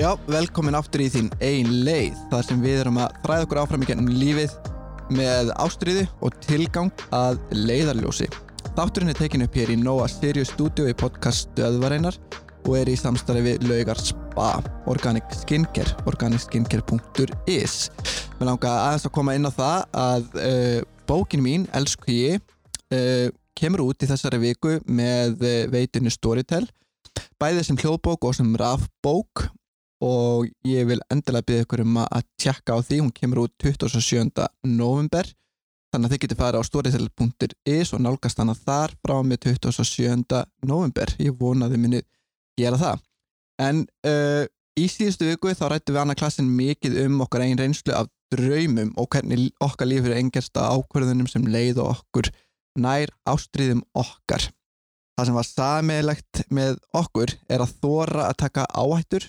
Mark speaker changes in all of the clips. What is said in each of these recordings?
Speaker 1: Já, velkomin aftur í þín ein leið þar sem við erum að þræða okkur áfram í gennum lífið með ástriði og tilgang að leiðarljósi Þátturinn er tekin upp hér í Nóa Sirius Studio í podcast Stöðvareinar og er í samstarfi við Laugar Spa Organic Skincare, organicskincare.is Mér langar aðeins að koma inn á það að uh, bókin mín, Elsku ég uh, kemur út í þessari viku með uh, veitunni Storytel bæði sem hljóðbók og sem rafbók og ég vil endilega byggja ykkur um að tjekka á því, hún kemur út 27. november þannig að þið getur farið á storytel.is og nálgast hana þar frá og með 27. november ég vona að þið minni gera það en uh, í síðustu viku þá rættum við annað klassin mikið um okkar einn reynslu af draumum og hvernig okkar lífur er engjast að ákvörðunum sem leið og okkur nær ástriðum okkar það sem var sameilegt með okkur er að þóra að taka áhættur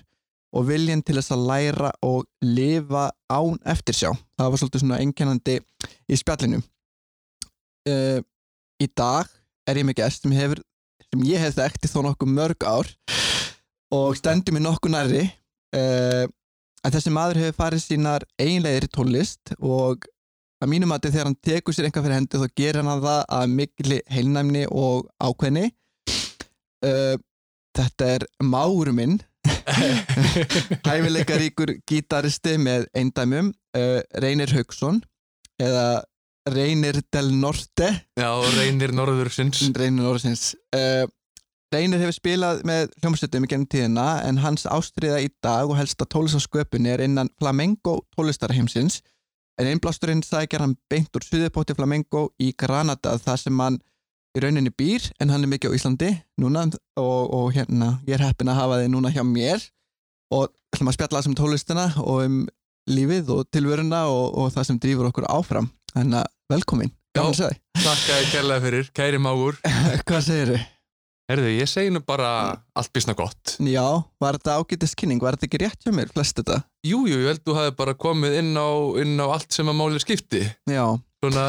Speaker 1: og viljan til þess að læra og lifa án eftir sjá. Það var svolítið svona einkennandi í spjallinu. Uh, í dag er ég með gest sem, hefur, sem ég hef þekkt í þó nokkuð mörg ár og stendur mér nokkuð nærri. Uh, en þessi maður hefur farið sínar eiginlegir í tónlist og að mínum að þegar hann tekur sér einhvað fyrir hendi þá gerir hann það að mikli heilnæmni og ákveðni. Uh, þetta er Máru minn hæfileikaríkur gítaristi með eindæmum uh, Reynir Haugsson eða Reynir Del Norte
Speaker 2: Já, reynir norðursins
Speaker 1: Reynir Norðsins uh, Reynir hefur spilað með hljómsveitum í gennum tíðina en hans ástriða í dag og helsta tólistasköpun er innan flamenco tólistarheimsins en einblásturinn sækjar hann beint úr suðupótti flamenco í Granada þar sem hann í rauninni býr en hann er mikið á Íslandi núna og, og hérna ég er heppin að hafa þið núna hjá mér og ætlum að spjalla þessum tólistina og um lífið og tilveruna og, og það sem drýfur okkur áfram þannig að velkomin, gaman að segja
Speaker 2: Takk að ég kærlega fyrir, kæri mágur
Speaker 1: þig. hvað segir þau?
Speaker 2: Herðu, ég segi nú bara allt býsna gott
Speaker 1: Já, var þetta ágætið skynning, var þetta ekki rétt hjá mér flest þetta?
Speaker 2: Jú, jú, ég held þú hafi bara komið inn á, inn á allt sem að máli skipti
Speaker 1: Já,
Speaker 2: Svona,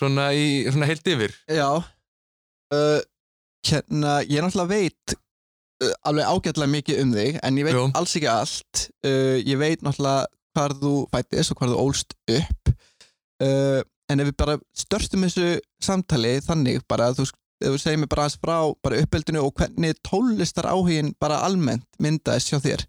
Speaker 2: svona, í, svona heilt yfir
Speaker 1: já uh, hérna, ég náttúrulega veit uh, alveg ágætlega mikið um þig en ég veit
Speaker 2: Jú.
Speaker 1: alls ekki allt uh, ég veit náttúrulega hvar þú fættist og hvar þú ólst upp uh, en ef við bara störstum þessu samtali þannig bara að þú, sk- ef þú segir mér bara aðeins frá bara uppeldinu og hvernig tónlistar áhugin bara almennt myndaðist hjá þér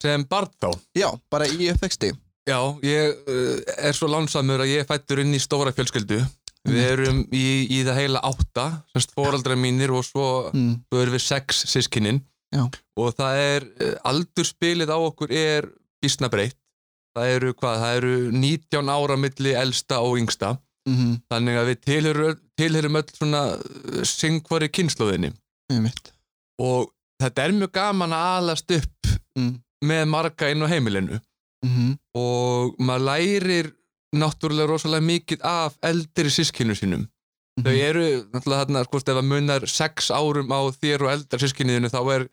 Speaker 2: Sem barn þá
Speaker 1: já, bara í uppvexti
Speaker 2: Já, ég uh, er svo lánsamur að ég er fættur inn í stóra fjölskyldu Við
Speaker 1: Einmitt.
Speaker 2: erum í, í það heila átta semst fóraldra mínir og svo
Speaker 1: mm,
Speaker 2: svo erum við sex sískinnin
Speaker 1: Já.
Speaker 2: og það er, eh, aldurspilið á okkur er bísna breytt það eru hvað, það eru 19 ára milli elsta og yngsta
Speaker 1: mm,
Speaker 2: þannig að við tilherum, tilherum öll svona eh, singvari kynnslóðinni
Speaker 1: einmitt,
Speaker 2: og þetta er mjög gaman að alast upp
Speaker 1: mm,
Speaker 2: með marga inn á heimilinu
Speaker 1: mm,
Speaker 2: og maður lærir náttúrulega rosalega mikið af eldri sískinu sínum þau eru, náttúrulega þarna, sko, ef að munar sex árum á þér og eldarsískinniðinu þá er,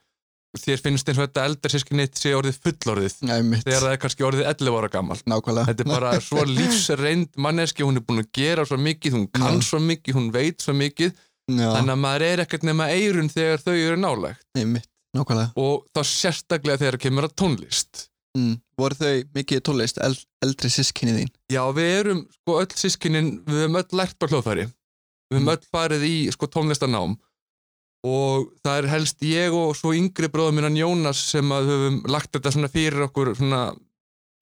Speaker 2: þér finnst eins og þetta eldarsískinniðt sé orðið fullorðið
Speaker 1: einmitt
Speaker 2: þegar það er kannski orðið 11 ára gammal
Speaker 1: nákvæmlega
Speaker 2: þetta er bara svo lífsreind manneski hún er búin að gera svo mikið, hún kann
Speaker 1: Já.
Speaker 2: svo mikið hún veit svo mikið,
Speaker 1: já,
Speaker 2: þannig að maður er ekkert nema eirun þegar þau eru nálægt
Speaker 1: einmitt, nákvæmlega
Speaker 2: og þá sérstaklega þegar kemur að tónlist
Speaker 1: mm. voru þau mikið í tónlist el, eldri sískinni þín
Speaker 2: Já, við erum, sko, öll sískinin, við höfum öll lært á hljóðfæri. Við höfum
Speaker 1: Mm.
Speaker 2: öll farið í, sko, tónlistarnám. Og það er helst ég og svo yngri bróðum minna Jónas sem að höfum lagt þetta svona fyrir okkur, svona,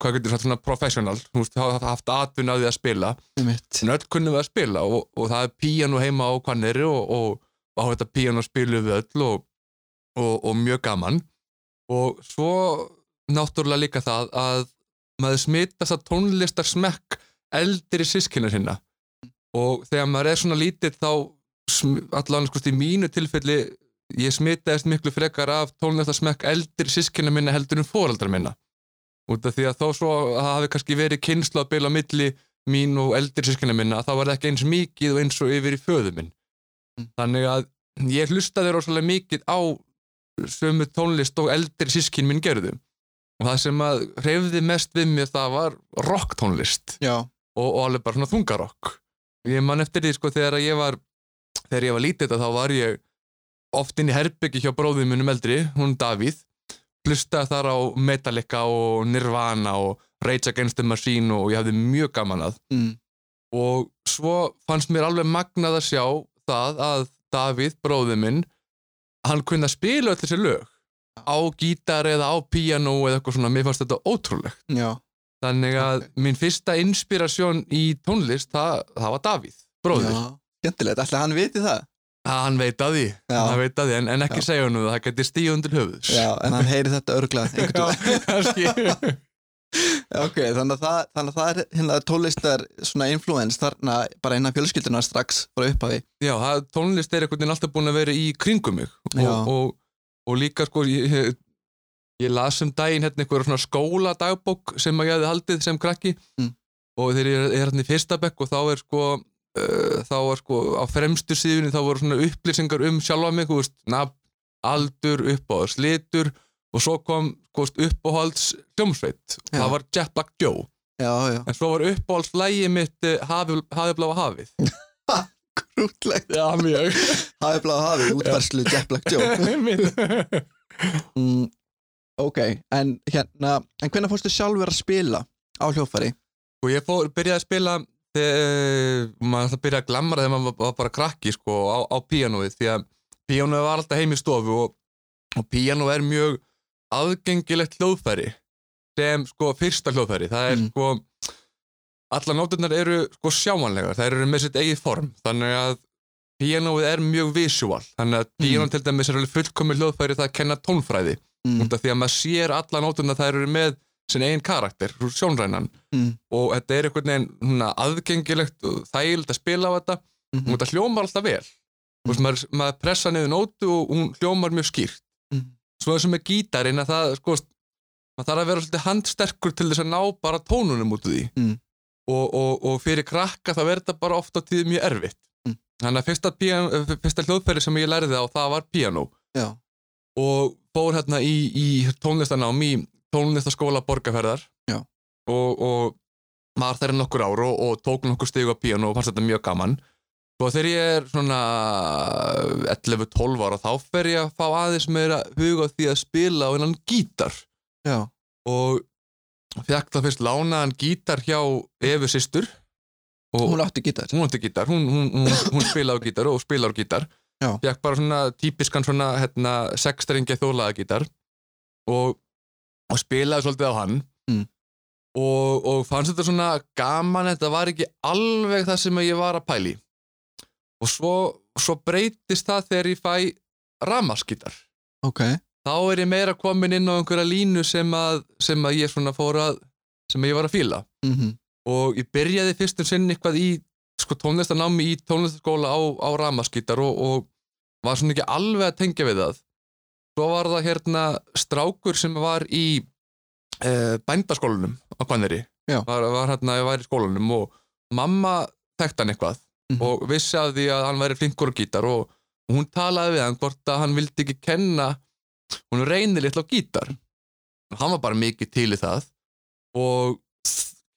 Speaker 2: hvað getur þetta, svona professional. Þú veist, hafa haft atvinna af því að spila.
Speaker 1: einmitt,
Speaker 2: En öll kunnum við að spila og, og það er píanu heima á hvanneri og, og, og á þetta píanu spilum við öll og, og, og mjög gaman. Og svo náttúrulega líka það að maður smitast að tónlistar smekk eldri sískina sinna og þegar maður er svona lítill þá sm- allan sko í mínu tilfelli ég smitaðist miklu frekar af tónlistar smekk eldri sískina minna heldur en fóraldra minna út af því að þá svo að það hafi kannski verið kynslu að beila milli mín og eldri sískina minna þá var það ekki eins mikið og eins og yfir í föðu minn
Speaker 1: Mm.
Speaker 2: þannig að ég hlustaði rosalega mikið á sömu tónlist og eldri sískin minn gerðu og það sem að hreyfði mest við mér það var rocktónlist
Speaker 1: já,
Speaker 2: og, og alveg bara svona þungarokk ég man eftir því sko þegar að ég var þegar ég var lítið þá var ég oft inn í herbyggi hjá bróðum minnum eldri, hún Davíð hlustaði þar á Metallica og Nirvana og Rage Against the Machine og ég hafði mjög gaman að
Speaker 1: mm.
Speaker 2: og svo fannst mér alveg magnað að sjá það að Davíð, bróði minn hann kunna spila öll þessi lög á gítar eða á píanó eða eitthvað svona, mér fannst þetta ótrúlegt
Speaker 1: Já,
Speaker 2: þannig að mín fyrsta inspirasjón í tónlist, það, það var Davíð bróðir,
Speaker 1: Já. Skemmtilegt, ætli hann viti það
Speaker 2: ja. hann veit að því
Speaker 1: Já.
Speaker 2: hann veit að því, en, en ekki
Speaker 1: Já.
Speaker 2: segja hann það, það geti stíð undir höfuðs
Speaker 1: Já, en hann heyri þetta örglað
Speaker 2: Já, kannski.
Speaker 1: Ok, þannig að það, þannig að það er hérna tólistar svona influence þarna bara innan fjölskyldunar strax frá upphafi
Speaker 2: Já, það, tónlist er einhvern veginn alltaf búin að vera í kringum mig
Speaker 1: Já.
Speaker 2: og, og, og líka sko ég, ég- ég las um daginn hérna einhverja svona skóladagbók sem að ég hefði haldið sem krakki
Speaker 1: Mm.
Speaker 2: og þegar ég er- er hérna í fyrsta bekk og þá er sko uh, þá var sko á fremstu síðunni þá voru svona upplýsingar um sjálfa mig þú veist, nafn, aldur, uppáhalds litur og svo kom sko, uppáhalds hljómsveit
Speaker 1: Já.
Speaker 2: það var Jet Black Joe
Speaker 1: Já, já
Speaker 2: en svo var uppáhalds lægi mitt eh, hafi, hafi bláa hafið
Speaker 1: Krútlegt
Speaker 2: Já, mjög
Speaker 1: Hafi bláð hafi, útvarslu Jack Black Joe mm, Ok, en hérna en hvernig fórstu sjálfur að spila á hljófari?
Speaker 2: og Sko, ég fór, byrjaði að spila þegar eh, maður alltaf byrjaði að glamra þegar maður var- var bara krakki sko á, á píanóið því að píanóið var alltaf heim í stofu og, og píanóið er mjög aðgengilegt hljóðfæri sem sko fyrsta hljóðfæri það er
Speaker 1: Mm.
Speaker 2: sko allar nóturnar eru sko sjáanlegar það eru með sitt eigið form þannig að píanóið er mjög visual þannig að píanóið til dæmis er alveg fullkomi hljóðfæri það að kenna tónfræði
Speaker 1: Mm,
Speaker 2: út af því að maður sér alla nótuna þær eru með sinn eigin karakter, svo sjónrænan
Speaker 1: mm,
Speaker 2: og þetta er einhvern veginn svona, aðgengilegt og þægild að spila á þetta og
Speaker 1: mm,
Speaker 2: þetta hljómar alltaf vel mm. og maður, maður pressa niður nótu og hún hljómar mjög skýrt
Speaker 1: mm.
Speaker 2: svo þessum með gítarinn að það sko, maður þarf að vera svolítið handsterkur til þess að ná bara tónunum út úr því
Speaker 1: Mm.
Speaker 2: og, og, og fyrir krakka það verður þetta bara ofta tíð mjög erfitt
Speaker 1: Mm.
Speaker 2: þannig að fyrsta, pían, fyrsta hljóðferði sem ég lærði á það var piano
Speaker 1: Já,
Speaker 2: og fór hérna í, í tónlistanám í tónlistaskóla borgarferðar
Speaker 1: Já.
Speaker 2: og, og maður þeirra nokkur ár og, og tók nokkur stig á píano og fannst þetta mjög gaman og þegar ég er svona 11-12 ára þá fer ég að fá aðeins meira huga á því að spila á innan gítar
Speaker 1: já,
Speaker 2: og fekk það fyrst lánaðan gítar hjá Efu systur og
Speaker 1: hún átti gítar
Speaker 2: hún átti gítar, hún, hún, hún, hún spilaði á gítar og spilaði á gítar
Speaker 1: Já.
Speaker 2: fekk bara svona típiskan svona hérna, sexstringja þólaða gítar og, og spilaði svolítið á hann
Speaker 1: Mm.
Speaker 2: og, og fannst þetta svona gaman þetta var ekki alveg það sem ég var að pæli og svo, svo breytist það þegar ég fæ ramaskítar
Speaker 1: Ok,
Speaker 2: þá er ég meira komin inn á einhverja línu sem að, sem að ég svona fór að sem að ég var að fíla
Speaker 1: mm
Speaker 2: og ég byrjaði fyrst um sinn eitthvað í sko, tónlistanámi í tónlistaskóla á, á ramaskítar og, og var svona ekki alveg að tengja við það svo var það hérna strákur sem var í e, bændaskólanum á Hvanneri
Speaker 1: Já.
Speaker 2: var, var hérna, ég var í skólanum og mamma þekkt hann eitthvað
Speaker 1: Mhm.
Speaker 2: og vissi að því að hann væri flinkur á gítar og og hún talaði við hann hvort að hann vildi ekki kenna hún reynir litla á gítar og hann var bara mikið til í það og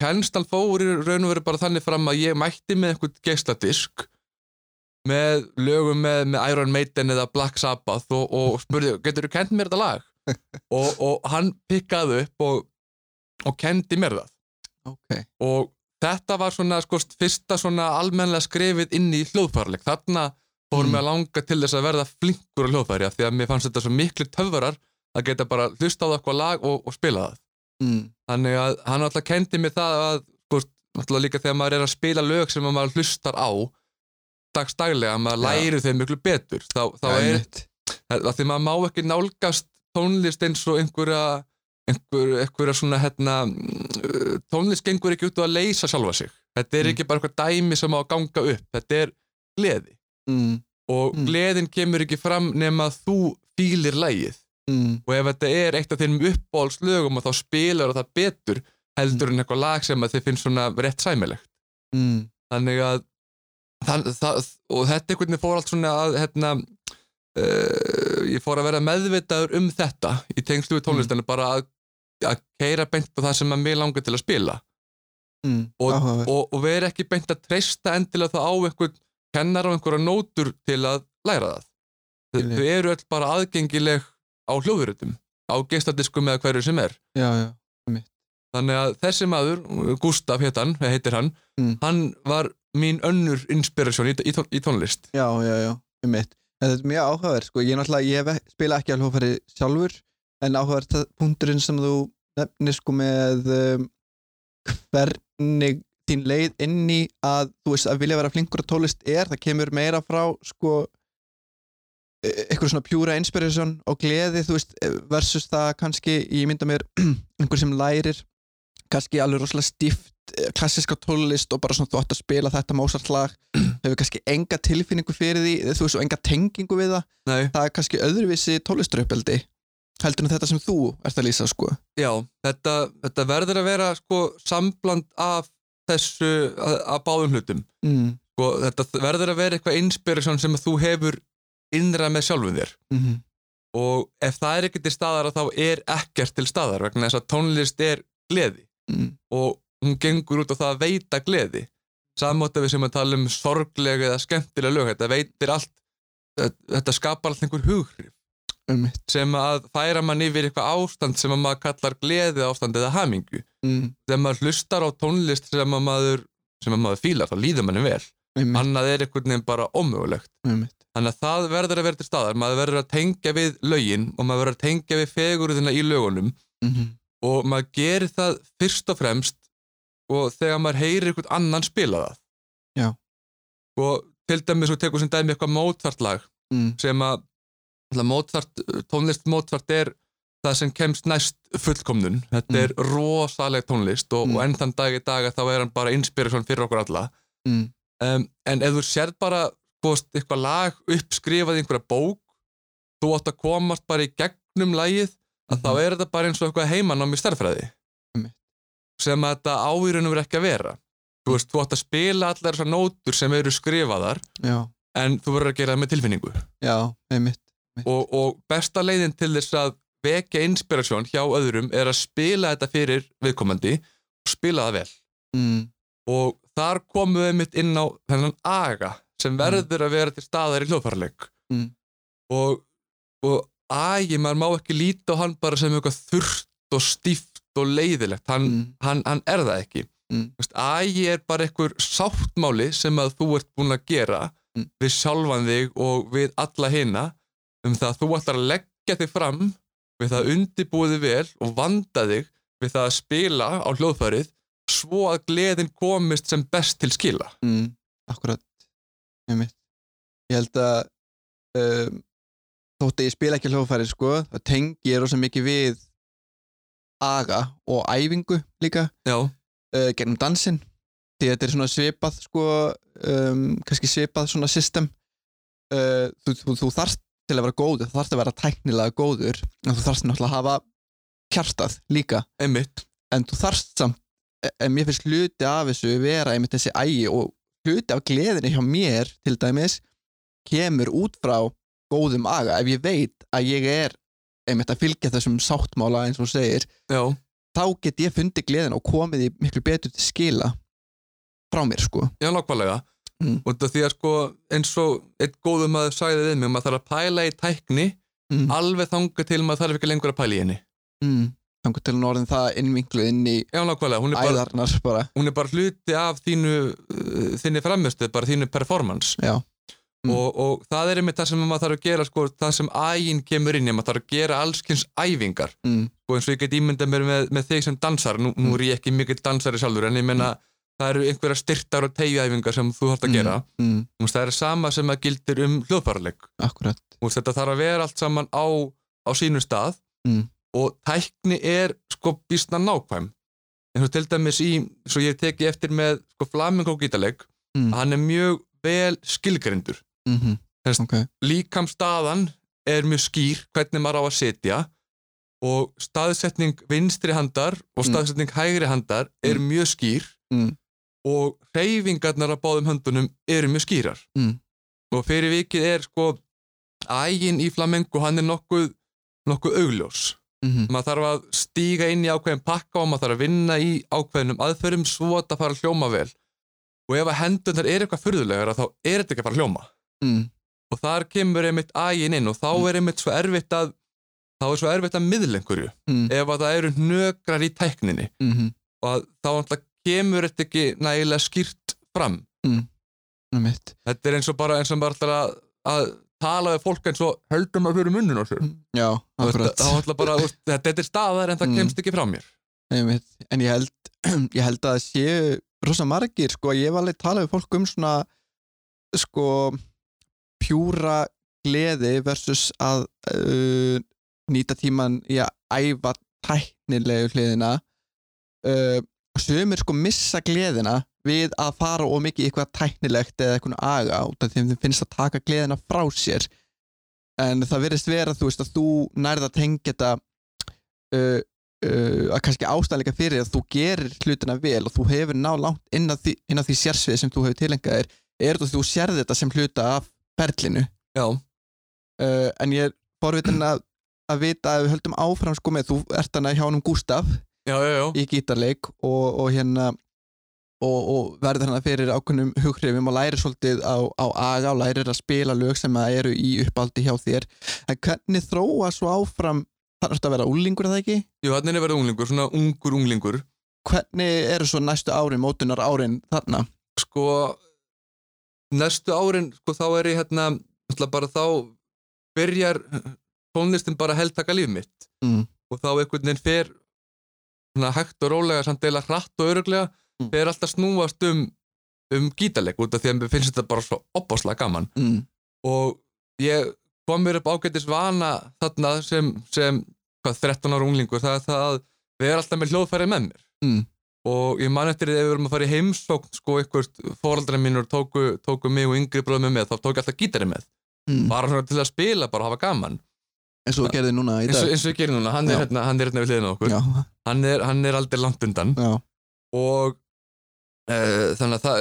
Speaker 2: kennstan fór í raun og veru bara þannig fram að ég mætti með einhvern geisladisk með lögum með, með Iron Maiden eða Black Sabbath og, og spurði, getur þú kent mér þetta lag? og, og hann pikkaði upp og, og kendi mér það
Speaker 1: ok
Speaker 2: og þetta var svona sko, fyrsta svona almennlega skrifið inn í hljóðfærleik þarna fór
Speaker 1: Mm.
Speaker 2: mig að langa til þess að verða flinkur á hljóðfæri af því að mér fannst þetta svo miklu töfvarar að geta bara hlusta á eitthvað lag og, og spila það
Speaker 1: mm.
Speaker 2: þannig að hann alltaf kendi mér það að sko, alltaf líka þegar maður er að spila lög sem að maður hlustar á dagstaglega, maður
Speaker 1: Já.
Speaker 2: læri þau miklu betur þá, þá
Speaker 1: Já,
Speaker 2: er,
Speaker 1: einmitt.
Speaker 2: að því maður má ekki nálgast tónlist eins og einhverja einhver, einhverja svona hérna, mm, tónlist gengur ekki út á að leysa sjálfa sig þetta er
Speaker 1: Mm.
Speaker 2: ekki bara eitthvað dæmi sem á að ganga upp þetta er gleði
Speaker 1: mm,
Speaker 2: og
Speaker 1: Mm.
Speaker 2: gleðin kemur ekki fram nema að þú fýlir lægið
Speaker 1: mm,
Speaker 2: og ef þetta er eitt af þeim uppbólslögum þá spilar það betur heldur en eitthvað lag sem að þið finnst svona rétt sæmilegt
Speaker 1: mm,
Speaker 2: þannig að þann, það, og þetta einhvern veginn fór allt svona að hérna uh, ég fór að vera meðvitaður um þetta í tengslu við tónlistinu bara að, að keira beint á það sem að mig langar til að spila
Speaker 1: mm,
Speaker 2: og-
Speaker 1: áhugavert.
Speaker 2: og, og vera ekki beint að treysta endilega það á einhvern kennar á einhverja nótur til að læra það Þau-
Speaker 1: Skilji.
Speaker 2: þau eru öll bara aðgengileg á hljóðurutum á geistadiskum eða hverju sem er
Speaker 1: já, já,
Speaker 2: þannig að þessi maður, Gustaf hét hann, eða heitir hann
Speaker 1: Mm.
Speaker 2: hann var mín önnur inspirasjón í, í, tón- í tónlist
Speaker 1: já, já, já, um mitt. En þetta er mjög áhugaverð, sko, ég náttúrulega, ég hef, spila ekki alveg hófæri sjálfur, en áhugaverð það- punkturinn sem þú nefnir, sko, með um, hvernig þín leið inn í að, þú veist, að vilja vera flinkur að tólist er, það kemur meira frá, sko, e- eitthvað svona pjúra inspiration og gleði, þú veist, e, versus það kannski, ég mynda mér, einhver sem lærir, kannski alveg rosalega stíft, eh, klassíska tólist og bara svona þú átt að spila þetta Mozart-lag hefur kannski enga tilfinningu fyrir því eða þú veist og enga tengingu við það
Speaker 2: Nei.
Speaker 1: það er kannski öðruvísi tólistraupeldi heldur en þetta sem þú ert að lýsa sko
Speaker 2: Já, þetta, þetta verður að vera sko sambland af þessu, að, að báðum hlutum
Speaker 1: mm.
Speaker 2: sko, þetta verður að vera eitthvað inspirasjón sem að þú hefur innra með sjálfum þér
Speaker 1: Mm -hmm.
Speaker 2: og ef það er ekki til staðar að þá er ekkert til staðar vegna þess að tónlist er gleði
Speaker 1: Mm.
Speaker 2: og hún gengur út á það að veita gleði samátt að við sem að tala um sorglega eða skemmtilega lög þetta veitir allt eh, þetta skapar allt einhver hughrif
Speaker 1: Um
Speaker 2: sem að færa mann yfir eitthvað ástand sem að maður kallar gleði ástand eða hamingu
Speaker 1: Mm.
Speaker 2: þegar maður hlustar á tónlist sem að maður sem að maður fílar, þá líður manni vel
Speaker 1: Um
Speaker 2: annað er einhvern veginn bara ómögulegt
Speaker 1: Um
Speaker 2: þannig að það verður að vera til staðar maður verður að tengja við lögin og maður verður að tengja við fegurðina í lögunum
Speaker 1: mm.
Speaker 2: og maður gerir það fyrst og fremst og þegar maður heyrir einhvern annan spila það
Speaker 1: Já.
Speaker 2: og til dæmis og tekur sem dæmi eitthvað mótvartlag
Speaker 1: Mm.
Speaker 2: sem að náttúrulega Mozart, tónlist mótvart er það sem kemst næst fullkomnun þetta
Speaker 1: Mm.
Speaker 2: er rosaleg tónlist og,
Speaker 1: Mm.
Speaker 2: og enn þann dag í dag að þá er hann bara inspiration fyrir okkur alla
Speaker 1: Mm.
Speaker 2: um, en ef þú sér bara búst, eitthvað lag uppskrifað í einhverja bók þú átt að komast bara í gegnum lagið að þá er þetta bara eins og eitthvað heimanám í starfræði
Speaker 1: Einmitt.
Speaker 2: sem að þetta áýrunum er ekki að vera þú veist, þú átt að spila allar þessar nótur sem eru skrifaðar
Speaker 1: já,
Speaker 2: en þú verður að gera það með tilfinningu
Speaker 1: já, um
Speaker 2: og, og besta leiðin til þess að vekja inspirasjón hjá öðrum er að spila þetta fyrir viðkomandi og spila það vel
Speaker 1: mm.
Speaker 2: og þar komum við mitt inn á þennan aga sem
Speaker 1: Mm.
Speaker 2: verður að vera til staðar í hljóðfærleik
Speaker 1: Mm.
Speaker 2: og, og agi, maður má ekki líta á hann bara sem eitthvað þurft og stíft og leiðilegt, hann,
Speaker 1: Mm.
Speaker 2: hann, hann er það ekki
Speaker 1: Mm.
Speaker 2: Þú veist, agi er bara einhver sáttmáli sem að þú ert búin að gera
Speaker 1: Mm.
Speaker 2: við sjálfan þig og við alla hina um það að þú ætlar að leggja þig fram við það að undibúa þig vel og vanda þig við það að spila á hljóðfærið svo að gleðin komist sem best til skila
Speaker 1: Mm, akkurat einmitt. ég held að um, þótt að ég spila ekki hljóðfæri sko, það tengi ég rosa mikið við aga og æfingu líka
Speaker 2: Já,
Speaker 1: uh, gerum dansinn því þetta er svona svipað sko, um, kannski svipað svona system uh, þú, þú, þú þarft til að vera góður, þú þarft að vera tæknilega góður en þú þarft náttúrulega að hafa kjartað líka
Speaker 2: einmitt
Speaker 1: en þú þarft samt e, en mér finnst hluti af þessu vera einmitt þessi ægi og hluti af gleðinni hjá mér til dæmis kemur út frá góðum aga ef ég veit að ég er einmitt að fylgja þessum sáttmála eins og þú segir
Speaker 2: Já,
Speaker 1: þá get ég fundið gleðin og komið í miklu betur til skila frá mér sko
Speaker 2: já, nákvæmlega
Speaker 1: Mm.
Speaker 2: og það því að sko eins og einn góðum maður sagði við mig maður þarf að pæla í tækni
Speaker 1: mm.
Speaker 2: alveg þanga til maður þarf ekki lengur að pæla í henni
Speaker 1: mm. þangur til norðin það innvinklu inn í
Speaker 2: Já, nákvæmlega, hún er bara,
Speaker 1: æðarnar bara
Speaker 2: hún er bara hluti af þínu uh, þinni framistu, bara þínu performance
Speaker 1: Já. Mm.
Speaker 2: og, og það er einmitt það sem maður þarf að gera sko, það sem ægin kemur inn í, maður þarf að gera allskins æfingar
Speaker 1: mm.
Speaker 2: og eins og ég get ímyndað mér með, með þig sem dansar nú, nú er ég ekki mikill dansari sjálfur en ég meina það eru einhverja styrtar og tegjæfingar sem þú þarft að gera mm.
Speaker 1: Mm. mm.
Speaker 2: það er sama sem að gildir um hljóðfæraleg
Speaker 1: akkurat
Speaker 2: þetta þarf að vera allt saman á, á sínum stað
Speaker 1: Mm.
Speaker 2: og tækni er sko býstna nákvæm eins og til dæmis í, svo ég teki eftir með sko flamingo gítaleg
Speaker 1: Mm.
Speaker 2: hann er mjög vel skilgrindur
Speaker 1: mm
Speaker 2: Þess-
Speaker 1: ok
Speaker 2: líkamstaðan er mjög skýr hvernig maður á að sitja og staðsetning vinstri handar og
Speaker 1: Mm.
Speaker 2: staðsetning hægri handar er mjög skýr
Speaker 1: Mm.
Speaker 2: og hreyfingarnar á báðum höndunum eru mjög skýrar
Speaker 1: Mm.
Speaker 2: og fyrir vikið er sko ægin í flamengu hann er nokkuð, nokkuð augljós
Speaker 1: mm
Speaker 2: maður þarf að stíga inn í ákveðin pakka og maður þarf að vinna í ákveðinum aðferðum svo að það fara að hljóma vel og ef að hendunar er eitthvað furðulegur þá er þetta ekki að fara að hljóma
Speaker 1: Mm.
Speaker 2: og þar kemur einmitt ægin inn og þá
Speaker 1: Mm.
Speaker 2: er einmitt svo erfitt að þá er svo erfitt að miðlengurju
Speaker 1: Mm.
Speaker 2: ef að það eru nökrar í tækninni
Speaker 1: Mm -hmm.
Speaker 2: og að þá náttúrulega kemur þetta ekki nægilega skýrt fram þetta er eins og bara eins og bara alltaf að, að tala við fólk eins og höldum að fyrir munnun á sér
Speaker 1: Já,
Speaker 2: Þú veist,
Speaker 1: akkurat
Speaker 2: þá ætla bara, þú veist, þetta þetta er staðar en það
Speaker 1: Mm.
Speaker 2: kemst ekki frá mér
Speaker 1: Einmitt. En ég held, ég held að það séu rosa margir, sko, ég hef alveg talað við fólk um svona, sko, pjúra gleði versus að uh, nýta tíman í að æfa tæknilegu hliðina. Uh, Sumir sko missa gleðina við að fara og mikið í eitthvað tæknilegt eða eitthvað aga út af því að þeim finnst að taka gleðina frá sér. En það verðist vera, þú veist, að þú nærða að tengja þetta uh, uh, að kannski ástæðleika fyrir að þú gerir hlutina vel og þú hefur ná langt inn að því, inn að því sérsvið sem þú hefur tilengað þér er þetta þú sérð þetta sem hluta af perlinu
Speaker 2: já,
Speaker 1: uh, en ég er forvitin að, að vita að við höldum áfram sko með þú ert hana hjá honum Gustaf
Speaker 2: já, já, já,
Speaker 1: í gítarleik og, og hérna og, og verður hana fyrir ákveðnum hughrifum og lærir svolítið á, á aga og lærir að spila lög sem að eru í uppaldi hjá þér en hvernig þróa svo áfram þarf þetta að vera úlingur það ekki?
Speaker 2: jú, þannig er að vera unglingur svona ungur unglingur
Speaker 1: hvernig eru svo næstu árin, mótunar árin þarna?
Speaker 2: sko næstu árin, sko þá er ég hérna ætla bara þá byrjar tónlistin bara að heldtaka líf mitt
Speaker 1: Mm.
Speaker 2: og þá einhvern veginn fer svona hægt og rólega samt deila hratt og öruglega
Speaker 1: Mm.
Speaker 2: fer alltaf snúast um um gítarleik út af því að mér finnst þetta bara svo opaslega gaman
Speaker 1: Mm.
Speaker 2: og ég kom mér upp ágætis vana þarna sem, sem hvað, 13 ára unglingur það er það að við erum alltaf með hljóðfæri með mér
Speaker 1: Mm.
Speaker 2: og ég man eftir því að við vorum að fara í heimsókn sko einhvert fóraldra mínur tóku, tóku mig og yngri bróðum með þá tók ég alltaf gítari með
Speaker 1: Mm.
Speaker 2: bara svona til að spila, bara hafa gaman
Speaker 1: eins og þú gerði núna í
Speaker 2: eins og,
Speaker 1: dag
Speaker 2: eins og ég gerir núna, hann er,
Speaker 1: Já.
Speaker 2: hérna, hann er hérna við hliðina á okkur
Speaker 1: já,
Speaker 2: hann er, hann er aldrei langt undan
Speaker 1: já,
Speaker 2: og uh, þannig að það,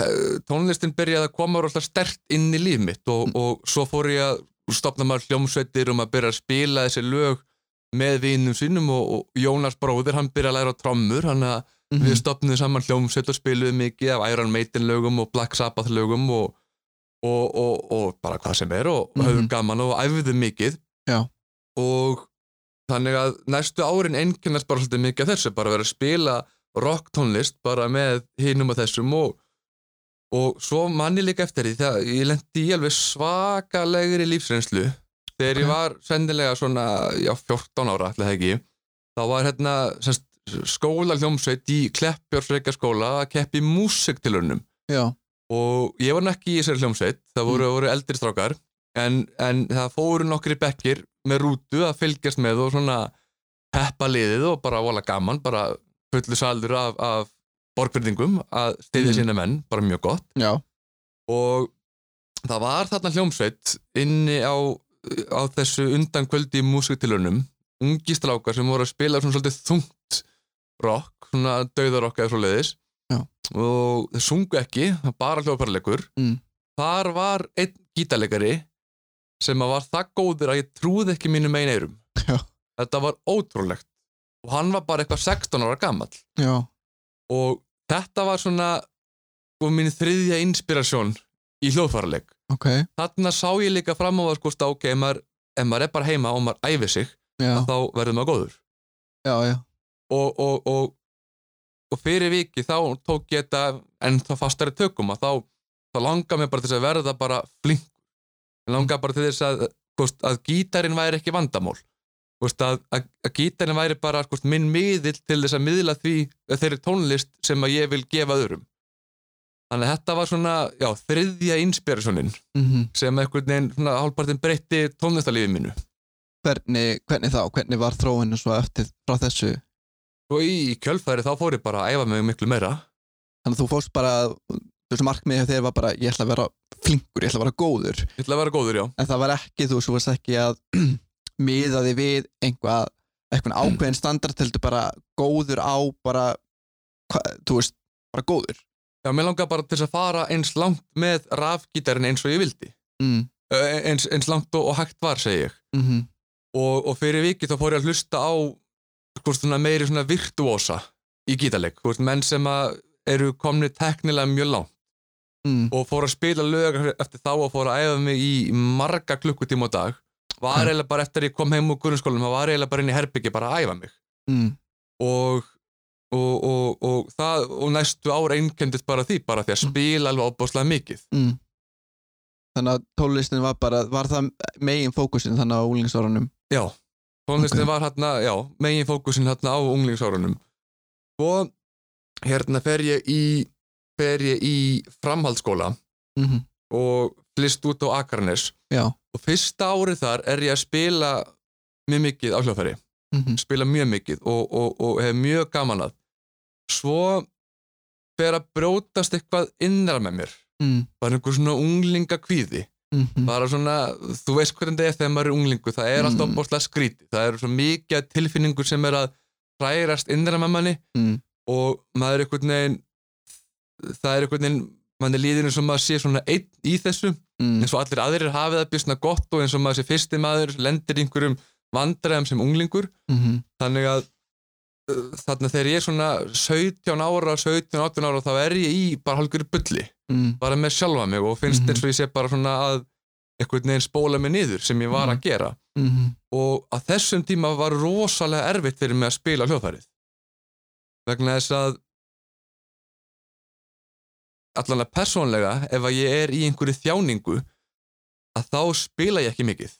Speaker 2: uh, tónlistin byrjaði að koma rosalega stert inn í líf mitt og,
Speaker 1: Mm.
Speaker 2: og svo fór ég að stopna maður hljómsveitir og maður byrja að spila þessi lög með vinum sínum og, og Jónas bróðir hann byrja að læra á trommur hann að
Speaker 1: Mhm.
Speaker 2: við stopnum saman hljómsveit og spilum mikið af Iron Maiden lögum og Black Sabbath lögum og, og, og, og bara hvað sem er og
Speaker 1: Mhm.
Speaker 2: höfum gaman og æfðum mikið
Speaker 1: Já.
Speaker 2: og þannig að næstu árin einkennast bara svolítið mikið af þessu, bara vera að spila rock tónlist bara með hinum og þessum og, og svo manni líka eftir því þegar ég lendi í alveg svakalegri lífsreynslu þegar
Speaker 1: Ok.
Speaker 2: ég var sennilega svona já, 14 ára ætli það ekki þá var hérna semst, skóla hljómsveit í Kleppjórnsreika skóla að keppi músiktilunum
Speaker 1: já,
Speaker 2: og ég var nú ekki í þessari hljómsveit það voru, voru eldri strákar en, en það fóru nokkri bekkir með rútu að fylgjast með og svona peppa liðið og bara vola gaman bara fullu saldur af, af borgfyrtingum að stiðja
Speaker 1: Mm.
Speaker 2: sína menn bara mjög gott
Speaker 1: já,
Speaker 2: og það var þarna hljómsveit inni á, á þessu undankvöldi í músiktilunum ungi strákar sem voru að spila svona svolítið þungt rock, svona dauðarokk eða svo leiðis
Speaker 1: Já.
Speaker 2: og þeir sungu ekki, það var bara hljóparleikur
Speaker 1: Mm.
Speaker 2: þar var einn gítarleikari sem að var það góður að ég trúði ekki mínum einn eirum
Speaker 1: Já.
Speaker 2: þetta var ótrúlegt og hann var bara eitthvað 16 ára gamall
Speaker 1: já
Speaker 2: og þetta var svona og mín þriðja inspirasjón í hljóðfæraleik
Speaker 1: ok,
Speaker 2: þarna sá ég líka fram á að sko ok, ef maður, ef maður er bara heima og maður æfi sig
Speaker 1: já,
Speaker 2: þá verður maður góður
Speaker 1: já, já
Speaker 2: og, og, og, og fyrir viki þá tók ég þetta en þá fastari tökum að þá, þá langar mér bara til þess að verða bara flink langar bara til þess að, kost, að gítarin væri ekki vandamál kost, að, að, að gítarin væri bara kost, minn miðill til þess að miðla því þeirri tónlist sem að ég vil gefa öðrum þannig að þetta var svona já, þriðja inspirasjónin
Speaker 1: Mm
Speaker 2: sem einhvern veginn svona hálfpartin breytti tónlistalífið mínu
Speaker 1: hvernig, hvernig þá, hvernig var þróinu svo eftir frá þessu
Speaker 2: og í kjölfæri þá fór ég bara að æfa mig miklu meira
Speaker 1: þannig að þú fórst bara, þú veist markmiðið hjá þér var bara, ég ætla að vera flinkur, ég ætla að vera góður
Speaker 2: ég ætla að vera góður já
Speaker 1: en það var ekki, þú veist, þú varst ekki að miða þig við einhvað eitthvað ákveðin standard, heldur bara góður á bara, hva, þú veist, bara góður
Speaker 2: já, mér langar bara til þess að fara eins langt með rafgítarinn eins og ég vildi
Speaker 1: mm.
Speaker 2: Ö, eins, eins langt og, og hægt var, segi ég
Speaker 1: Mm -hmm.
Speaker 2: og, og fyrir vikið þá fór ég að hlusta á hvort svona meiri svona virtuósa í gítarleik, hvort menn sem að eru komni teknilega mjög langt
Speaker 1: Mm.
Speaker 2: og fór að spila lög eftir þá og fór að æfa mig í marga klukkutíma á dag var eiginlega bara eftir að ég kom heim úr grunnskólanum, það var eiginlega bara inn í herbyggi bara að æfa mig
Speaker 1: mm,
Speaker 2: og, og, og, og, það, og næstu ár einkendist bara því, bara því að spila alveg ábúslega mikið.
Speaker 1: mm. Þannig að tónlistin var bara, var það megin fókusin þannig á úlingsórunum
Speaker 2: Já, tónlistin
Speaker 1: Ok.
Speaker 2: var hérna, já, megin fókusin hérna á unglingsárunum. Svo hérna fer ég í, fer ég í framhaldsskóla
Speaker 1: mm
Speaker 2: og flist út á Akarnes
Speaker 1: Já,
Speaker 2: og fyrsta árið þar er ég að spila mjög mikið á hljóðfæri.
Speaker 1: mm -hmm.
Speaker 2: spila mjög mikið og, og, og hef mjög gaman að svo fer að brjótast eitthvað innra með mér
Speaker 1: Mm,
Speaker 2: bara einhver svona unglinga kvíði
Speaker 1: mm -hmm.
Speaker 2: bara svona, þú veist hvernig það er þegar maður er unglingu það er alltaf
Speaker 1: Mm.
Speaker 2: bóðslega skrítið það eru svo mikið af tilfinningur sem er að hrærast innra með manni
Speaker 1: Mm.
Speaker 2: og maður er einhvern veginn það er einhvern veginn manni líðinu sem maður sé svona einn í þessu
Speaker 1: Mm,
Speaker 2: eins og allir aðrir hafið það bjössna gott og eins og maður sé fyrsti maður lendir í einhverjum vandræðum sem unglingur
Speaker 1: mhm,
Speaker 2: þannig að uh, þarna þegar ég er svona 17 ára, 17, 18 ára þá er ég í bara hálfur bulli
Speaker 1: mm,
Speaker 2: bara með sjálfa mig og finnst
Speaker 1: Mhm.
Speaker 2: eins og ég sé bara svona að einhvern veginn spóla mig niður sem ég var að gera
Speaker 1: mhm.
Speaker 2: og að þessum tíma var rosalega erfitt fyrir mig að spila á hljóðfærið vegna þess að allanlega persónlega ef að ég er í einhverju þjáningu að þá spila ég ekki mikið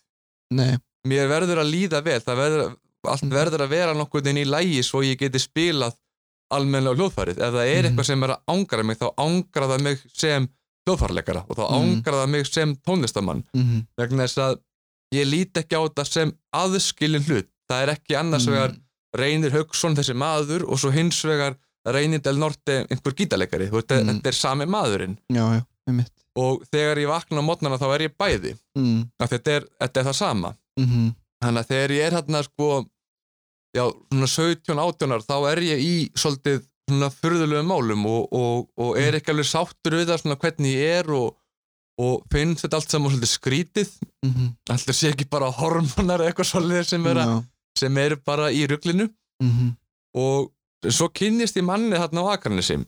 Speaker 1: Nei,
Speaker 2: mér verður að líða vel það verður, allt
Speaker 1: Mhm.
Speaker 2: verður að vera nokkuð inn í lægi svo ég geti spilað almennilega hljóðfærið ef það er
Speaker 1: Mhm.
Speaker 2: eitthvað sem er að ángra mig þá ángra það mig sem hljóðfærleikara og þá
Speaker 1: Mhm.
Speaker 2: ángra það mig sem tónlistamann
Speaker 1: mhm,
Speaker 2: vegna þess að ég lít ekki á þetta sem aðskilin hlut það er ekki annars
Speaker 1: Mhm.
Speaker 2: vegar Reynir Hauksson þessi maður og svo hins vegar Reynir Del Norte einhver gítarleikari Þú veist,
Speaker 1: Mhm.
Speaker 2: þetta er sami maðurinn
Speaker 1: já, já, við mitt
Speaker 2: og þegar ég vakna á mótnana þá er ég bæði
Speaker 1: mm,
Speaker 2: af því þetta er, þetta er það sama
Speaker 1: mhm,
Speaker 2: Þannig að þegar ég er hérna sko já, svona 17 átjónar þá er ég í svolítið svona furðulegu málum og, og, og
Speaker 1: Mm.
Speaker 2: er ekki alveg sáttur við það svona hvernig ég er og, og finnst þetta allt saman svolítið skrítið
Speaker 1: mhm
Speaker 2: alltaf sé ekki bara hormonar eða eitthvað svolítið sem, er,
Speaker 1: Já,
Speaker 2: sem eru bara í ruglinu
Speaker 1: mhm,
Speaker 2: og svo kynnist ég manni þarna á Akarnesi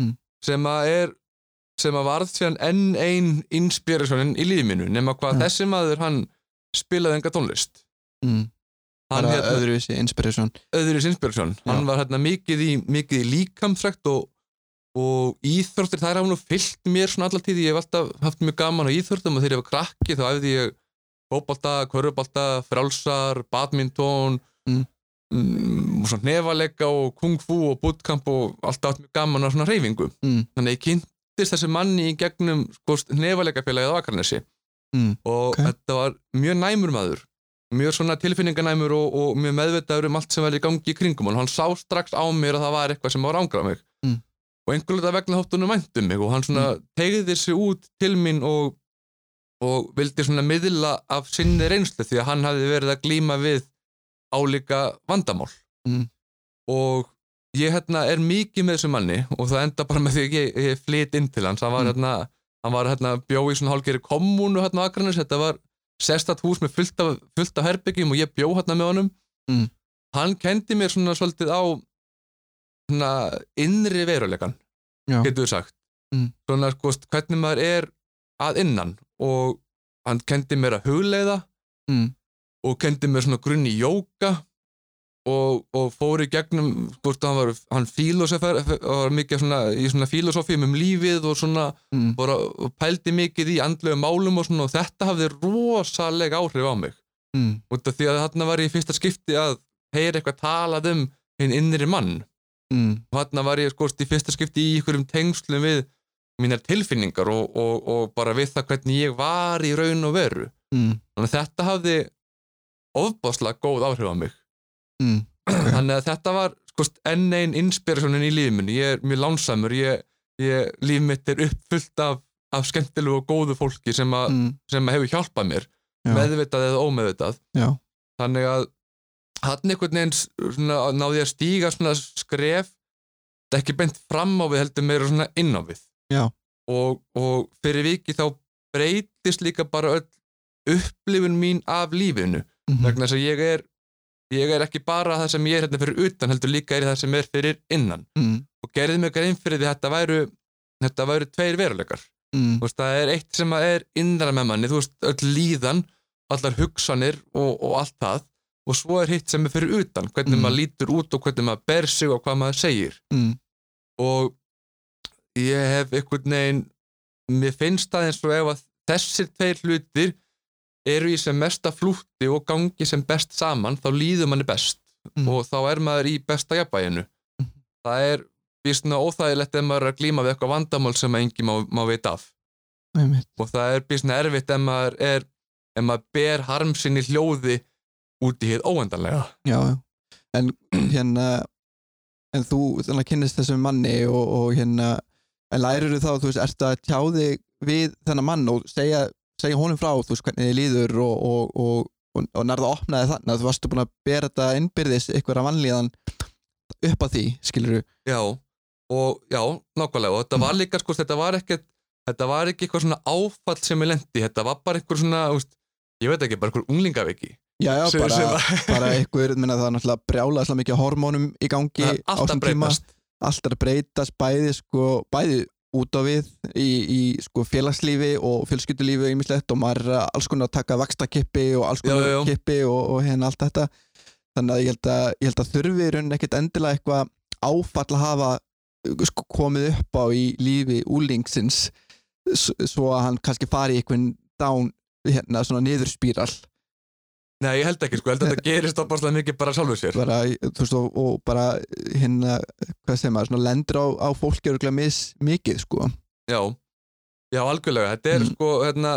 Speaker 1: Mm.
Speaker 2: sem að er sem að varð síðan enn ein inspirasjónin í lífinu nema hvað
Speaker 1: Já.
Speaker 2: þessi maður hann spilaði enga tónlist
Speaker 1: mhm.
Speaker 2: hann hérna
Speaker 1: bara eh, öðruvísi inspiration
Speaker 2: öðru Sinsbjörnsson hann var hérna mikið í, mikið í líkamsrækt og, og íþróttir þær hafa nú fyllt mér svona alla tíð ég hef alltaf haft mjög gaman á íþróttum og þegar ég var krakki þá æfði ég fótbalta, körfubalta, frálsar badminton
Speaker 1: Mm.
Speaker 2: mm, og svona nefalega og kung fu og bootcamp og alltaf haft mjög gaman á svona reyfingu
Speaker 1: Mm.
Speaker 2: þannig að ég kynntist þessi manni í gegnum sko, nefalega félagið á Akarnesi
Speaker 1: Mm.
Speaker 2: og
Speaker 1: Ok.
Speaker 2: þetta var mjög næmur maður mjög svona tilfinninganæmur og, og mjög meðvitaður um allt sem var í gangi í kringum hann. hann sá strax á mér að það var eitthvað sem var ángrað mig
Speaker 1: Mm.
Speaker 2: og einhvern veginn vegna hótt honum vænt um mig og hann svona tegði sig út til mín og, og vildi svona miðla af sinni reynslu því að hann hafði verið að glíma við álíka vandamál
Speaker 1: Mm.
Speaker 2: og ég hérna er mikið með þessu manni og það enda bara með því að ég, ég flyt inn til hans hann var
Speaker 1: Mm.
Speaker 2: hérna, hann var hérna bjó í svona hálgeri kommunu hérna á Akranis þetta var sérstætt hús með fullt af, fullt af herbyggjum og ég bjó hérna með honum
Speaker 1: Mm.
Speaker 2: hann kendi mér svona svolítið á svona innri veruleikan
Speaker 1: Já.
Speaker 2: getur við sagt
Speaker 1: Mm.
Speaker 2: svona sko hvernig maður er að innan og hann kendi mér að hugleiða
Speaker 1: Mm.
Speaker 2: og kendi mér svona grunn í jóka og, og fór í gegnum hvort hann var, hann fílósofar var mikið svona, í svona fílósofíum um lífið og svona,
Speaker 1: Mm.
Speaker 2: bara og pældi mikið í andlegu málum og svona og þetta hafði rosaleg áhrif á mig
Speaker 1: Mm.
Speaker 2: út af því að þarna var ég í fyrsta skipti að heyra eitthvað talað um hinn innri mann
Speaker 1: Mm.
Speaker 2: og þarna var ég sko í fyrsta skipti í einhverjum tengslum við mínar tilfinningar og, og, og bara við það hvernig ég var í raun og veru
Speaker 1: Mm.
Speaker 2: þannig að þetta hafði ofbáslega góð áhrif á mig
Speaker 1: Mm.
Speaker 2: þannig að þetta var sko, enn ein inspirasjónin í lífminu ég er mjög lánsamur ég, ég, líf mitt er uppfullt af, af skemmtilegu og góðu fólki sem, a,
Speaker 1: Mm.
Speaker 2: sem hefur hjálpað mér
Speaker 1: Já.
Speaker 2: meðvitað eða ómeðvitað
Speaker 1: Já.
Speaker 2: þannig að hann einhvern veginn s- svona, náði ég að stíga svona skref þetta er ekki beint fram á við heldur meira svona inn á við
Speaker 1: Já.
Speaker 2: og, og fyrir viki þá breytist líka bara öll upplifun mín af lífinu
Speaker 1: Mhm.
Speaker 2: vegna þess að ég er ég er ekki bara það sem ég er hérna fyrir utan heldur líka er ég það sem er fyrir innan
Speaker 1: Mm.
Speaker 2: og gerði mig grein fyrir því að þetta væru þetta væru tveir veruleikar
Speaker 1: Mm.
Speaker 2: þú veist það er eitt sem að er innra með manni þú veist öll líðan allar hugsanir og, og allt það og svo er hitt sem er fyrir utan hvernig
Speaker 1: Mm.
Speaker 2: maður lítur út og hvernig maður ber sig og hvað maður segir
Speaker 1: mm,
Speaker 2: og ég hef einhvern veginn mér finnst það eins og ef að þessir tveir hlutir eru í sem mesta flútti og gangi sem best saman þá líður manni best
Speaker 1: Mm.
Speaker 2: og þá er maður í besta jafnbæginu
Speaker 1: Mhm.
Speaker 2: það er býstna óþægilegt ef maður er að glíma við eitthvað vandamál sem engi má, má vita af
Speaker 1: einmitt,
Speaker 2: og það er býstna erfitt ef maður er ef maður ber harm sinni hljóði út í hér óendanlega
Speaker 1: já, já. En hérna, en þú þannig að kynnist þessum manni og, og hérna, en lærir þú þá, þú veist, ertu að tjá þig við þennan mann og segja, segja honum frá, þú veist, hvernig þið líður og, og, og, og, og nærða opnaði þannig að þú varstu búin að bera þetta innbyrðis einhverja vannlíðan upp að því, skilur þú?
Speaker 2: Já, og já, nákvæmlega og þetta
Speaker 1: Mm.
Speaker 2: var líka, sko, þetta var ekkert þetta var ekki eitthvað svona áfall sem ég lendi þetta var bara eitthvað svona, úst, ég veit ekki bara eitthvað unglingaveiki
Speaker 1: Já, já,
Speaker 2: sem-
Speaker 1: bara,
Speaker 2: sem að-
Speaker 1: bara einhver, minna, það er náttúrulega brjála svo mikið af hormónum í gangi
Speaker 2: það er
Speaker 1: á
Speaker 2: alltaf
Speaker 1: þessum tíma.
Speaker 2: breytast
Speaker 1: allt er að breytast bæði sko, bæði út á við í, í sko, félagslífi og fjölskyldulífi og ýmislegt og maður er að alls konar að taka vakstakippi og alls konar
Speaker 2: Já, já, já.
Speaker 1: kippi og, og hérna allt þetta þannig að ég held að, ég held að þurfi í rauninni ekkert endilega eitthvað áfall að hafa uh, sko, komið upp á í lífi úlingsins s- svo að hann kannski fari í einhvern dán hérna svona niðurspíral
Speaker 2: Nei, ég held ekki, sko, ég held að þetta gerist opaslega mikið bara sjálfur sér
Speaker 1: bara, þú veist, og, og bara hérna, hvað segir maður, svona lendur á, á fólki örgulega mis mikið sko
Speaker 2: Já, já, algjörlega, þetta er
Speaker 1: Mm.
Speaker 2: sko hérna,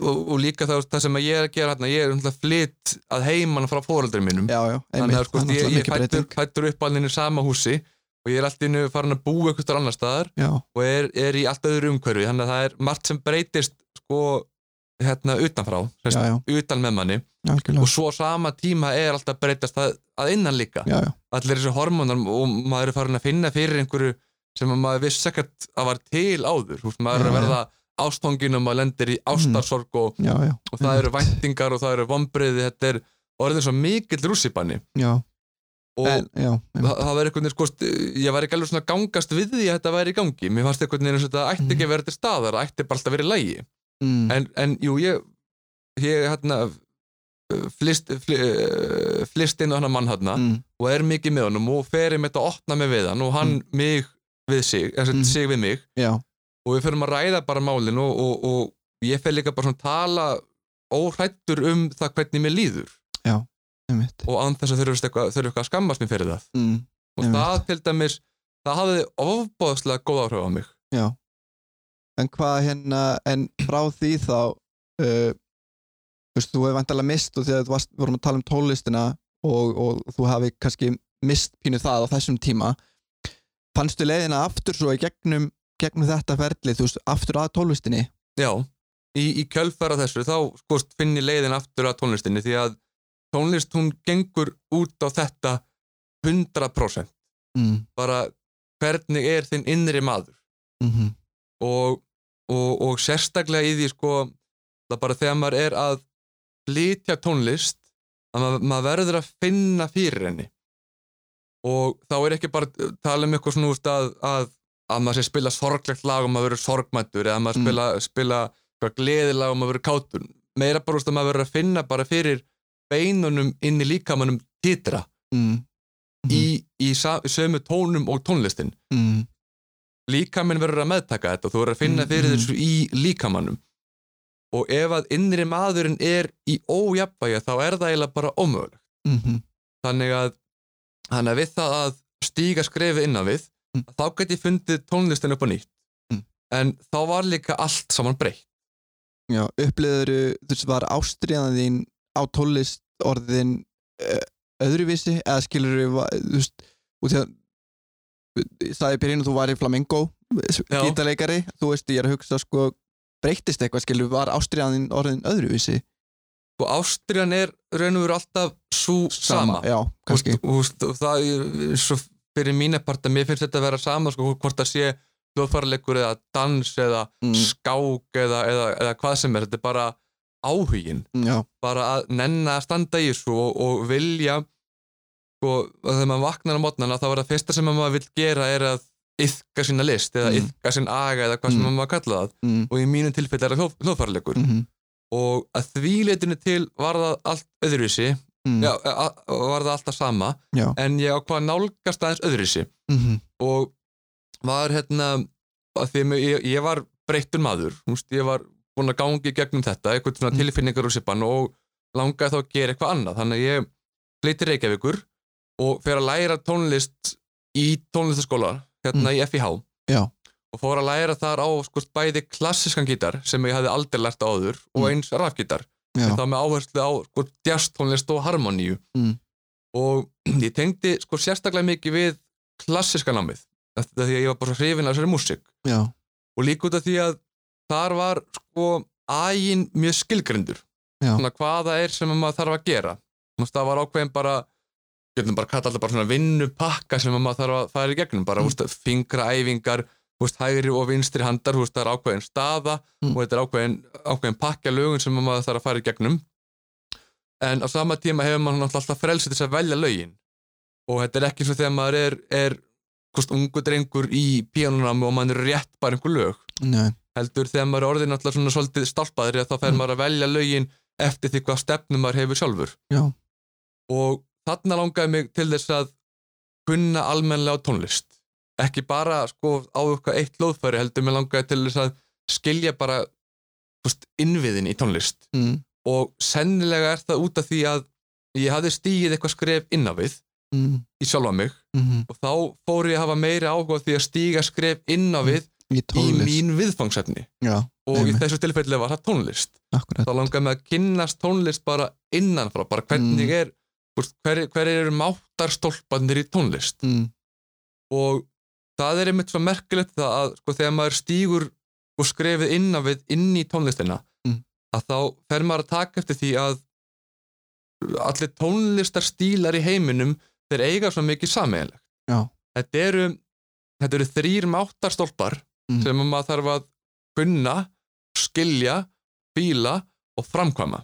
Speaker 2: og, og líka það, það sem ég er að gera hérna, ég er hérna flytt að heiman frá fóröldri mínum
Speaker 1: já, já,
Speaker 2: þannig að
Speaker 1: það
Speaker 2: sko,
Speaker 1: er
Speaker 2: ég,
Speaker 1: náttúrulega
Speaker 2: ég
Speaker 1: mikið
Speaker 2: fættur,
Speaker 1: breyting
Speaker 2: fættur upp alveg í sama húsi og ég er allt innu farin að búa eitthvað annar staðar
Speaker 1: já,
Speaker 2: og er, er í allt öðru umhverfi þannig að það er margt sem breytist sko hérna utanfrá
Speaker 1: já,
Speaker 2: sérst,
Speaker 1: já,
Speaker 2: utan með manni
Speaker 1: algjörlega
Speaker 2: og svo á sama tíma er alltaf breytast að, að innan líka
Speaker 1: já, já,
Speaker 2: allir þessu hormónar og maður er farin að finna fyrir einhverju sem að maður vissi ekkert að var til áður Húst, maður er
Speaker 1: Já,
Speaker 2: að verða ástangin og maður lendir í ástarsorg og,
Speaker 1: já, já,
Speaker 2: og það eru
Speaker 1: einmitt.
Speaker 2: væntingar og það eru vombriði þetta er orðin svo mikill rússipanni
Speaker 1: já,
Speaker 2: og
Speaker 1: en, já, einmitt.
Speaker 2: það, það var einhvern veginn sko, st- ég var ekki alveg svona að gangast við því að þetta væri í gangi, mér fannst einhvern veginn eins og þetta ætti ekki að vera til staðar, það ætti bara alltaf að vera í lægi
Speaker 1: mm,
Speaker 2: en, en jú, ég ég hérna uh, flist, fli, eh, flist inn á hann mann hérna
Speaker 1: mm,
Speaker 2: og er mikið með honum og fer einmitt að opna mig við hann og hann mig við sig, eða
Speaker 1: Mm.
Speaker 2: mm. sig við mig
Speaker 1: já,
Speaker 2: og við förum að ræða bara málin og, og, og ég fer líka bara svona að tala óhrættur um það hvernig mér líður
Speaker 1: einmitt
Speaker 2: og án þess að þurfa eitthvað, þurfa eitthvað að skammast mér fyrir það
Speaker 1: mm,
Speaker 2: og
Speaker 1: Einmitt.
Speaker 2: það til dæmis það hafði ofbáðslega góð áhrif á mig
Speaker 1: en hvað hérna, en frá því þá uh, þú veist, þú hefur vantalega mist og þegar þú varst, vorum að tala um tónlistina og, og þú hafi kannski mist pínu það á þessum tíma fannstu leiðina aftur svo í gegnum gegnum þetta ferli, þú veist, aftur að tónlistinni
Speaker 2: já, í, í kjölfæra þessu þá sko finn ég leiðin aftur að tónlistinni því að tónlist hún gengur út á þetta 100%
Speaker 1: mm,
Speaker 2: bara hvernig er þinn innri maður
Speaker 1: mm
Speaker 2: og, og, og sérstaklega í því sko það bara þegar maður er að flytja tónlist að maður, maður verður að finna fyrir henni og þá er ekki bara að tala um eitthvað svona úst að, að, að maður sé spila sorglegt lag og maður verður sorgmættur eða maður
Speaker 1: Mm.
Speaker 2: spila, spila eitthvað gleðilag og maður verður kátur meira bara úst að maður verður að finna bara fyrir beinunum inn í líkamanum titra
Speaker 1: mm,
Speaker 2: í, í sa- sömu tónum og tónlistin
Speaker 1: mm,
Speaker 2: líkaminn verður að meðtaka þetta og þú verður að finna
Speaker 1: Mm,
Speaker 2: fyrir
Speaker 1: mm.
Speaker 2: þessu í líkamannum og ef að innri maðurinn er í ójafnvægja þá er það eiginlega bara ómögulegt
Speaker 1: mm,
Speaker 2: þannig að, þannig að við það að stíga skrefi innan við
Speaker 1: Mm.
Speaker 2: þá get ég fundið tónlistin upp á nýtt
Speaker 1: Mm.
Speaker 2: en þá var líka allt saman breytt
Speaker 1: Já, upplýður þú veist, var ástriðan þín á tólist orðin uh, öðruvísi eða skilur þú veist, út í að ég sagði í byrjun að þú væri flamengo
Speaker 2: Já.
Speaker 1: gítarleikari, þú veist, ég er að hugsa sko, breyttist eitthvað, skilur, var ástriðan þín orðin öðruvísi?
Speaker 2: og ástriðan er raun og veru alltaf svo sama,
Speaker 1: Já, kannski.
Speaker 2: Þú veist, þú veist, það er svo fyrir mína part að mér finnst þetta að vera sama sko, hvort það sé hljóðfæralegur eða dans eða
Speaker 1: Mm,
Speaker 2: skák eða, eða, eða hvað sem er þetta er bara áhugin
Speaker 1: mm, já,
Speaker 2: bara að nenna að standa í þessu og, og vilja og þegar maður vaknar á mótnana þá er það fyrsta sem maður vil gera er að yfka sína list eða
Speaker 1: Mm.
Speaker 2: yfka sín aga eða hvað sem
Speaker 1: Mm.
Speaker 2: maður kalla það
Speaker 1: mm,
Speaker 2: og í mínu tilfelli er það hljóðfæralegur
Speaker 1: mm,
Speaker 2: og að því leitinu til var það allt öðruvísi
Speaker 1: mm,
Speaker 2: já, a- a- var það alltaf sama
Speaker 1: já.
Speaker 2: en ég ákvað að nálgast aðeins öðruvísi
Speaker 1: mhm,
Speaker 2: og var hérna að því að ég, ég var breyttur maður Úst, ég var búinn að gangi gegnum þetta eitthvað svona
Speaker 1: Mm.
Speaker 2: tilfinningar úr sipan og langaði þá að gera eitthvað annað þannig að ég flytti Reykjavíkur og fer að læra tónlist í tónlistaskóla hérna í FIH
Speaker 1: Mm. Já.
Speaker 2: og fór að læra þar á sko, bæði klassískan gítar sem ég hafði aldrei lært á áður
Speaker 1: Mm.
Speaker 2: og eins rafgítar
Speaker 1: Já.
Speaker 2: en þá með áherslu á sko, jazztónlist og harmoníu
Speaker 1: Mm.
Speaker 2: og ég tengdi sko, sérstaklega mikið við klassíska námið af af því að ég var bara svo hrifin af þessari músík
Speaker 1: já,
Speaker 2: og líka út af því að þar var sko ægin mjög skilgrindur
Speaker 1: Já.
Speaker 2: svona hvað það er sem að maður þarf að gera Þú veist, það var ákveðin bara getum bara kallað þetta bara svona vinnupakka sem að maður þarf að fara í gegnum bara
Speaker 1: Mm.
Speaker 2: mm. veist, fingraæfingar, þú veist, hægri og vinstri handar, þú veist, það er ákveðin staða
Speaker 1: Mm.
Speaker 2: og þetta er ákveðin, ákveðin pakka lögun sem að maður þarf að fara í gegnum en á sama tíma hefur maður náttúrulega alltaf frelsi til þess að velja lögin og þetta er ekki svo þegar maður er, er kost, ungu drengur í píanunam og maður er rétt bara einhver lög
Speaker 1: nei,
Speaker 2: heldur þegar maður er orðin alltaf svona svolítið stálpaðri að þá fer
Speaker 1: Mm.
Speaker 2: maður að velja lögin eftir því hvað stefnum maður hefur sjálfur
Speaker 1: Já.
Speaker 2: og þarna langaði mig til þess að kunna almennlega á tónlist ekki bara sko á eitthvað eitt lóðfæri heldur mig langaði til þess að skilja bara þú veist, innviðin í tónlist
Speaker 1: mm,
Speaker 2: og sennilega er það út af því að ég hafði stíið eitthvað skref inn á við
Speaker 1: mm,
Speaker 2: í sjálfa mig
Speaker 1: mm,
Speaker 2: og þá fór ég að hafa meiri áhuga á því að stíga skref inn á
Speaker 1: í
Speaker 2: við í
Speaker 1: Mm, tónlist
Speaker 2: mín viðfangsefni
Speaker 1: já,
Speaker 2: og í
Speaker 1: Einmitt.
Speaker 2: þessu tilfelli var það tónlist
Speaker 1: akkurat
Speaker 2: þá langaði mig að kynnast tónlist bara innanfrá, bara hvernig
Speaker 1: Mm.
Speaker 2: er hvort- hver, hver eru máttarstólpanir í tónlist
Speaker 1: mm,
Speaker 2: og það er einmitt svo merkilegt það að sko, þegar maður stígur og skrefið innan við inn í tónlistina
Speaker 1: Mm.
Speaker 2: að þá fer maður að taka eftir því að allir tónlistar stílar í heiminum þeir eiga svo mikið sameiginlegt
Speaker 1: Já.
Speaker 2: þetta eru, þetta eru þrýr máttarstólpar
Speaker 1: Mm.
Speaker 2: sem að maður þarf að kunna, skilja fíla og framkvæma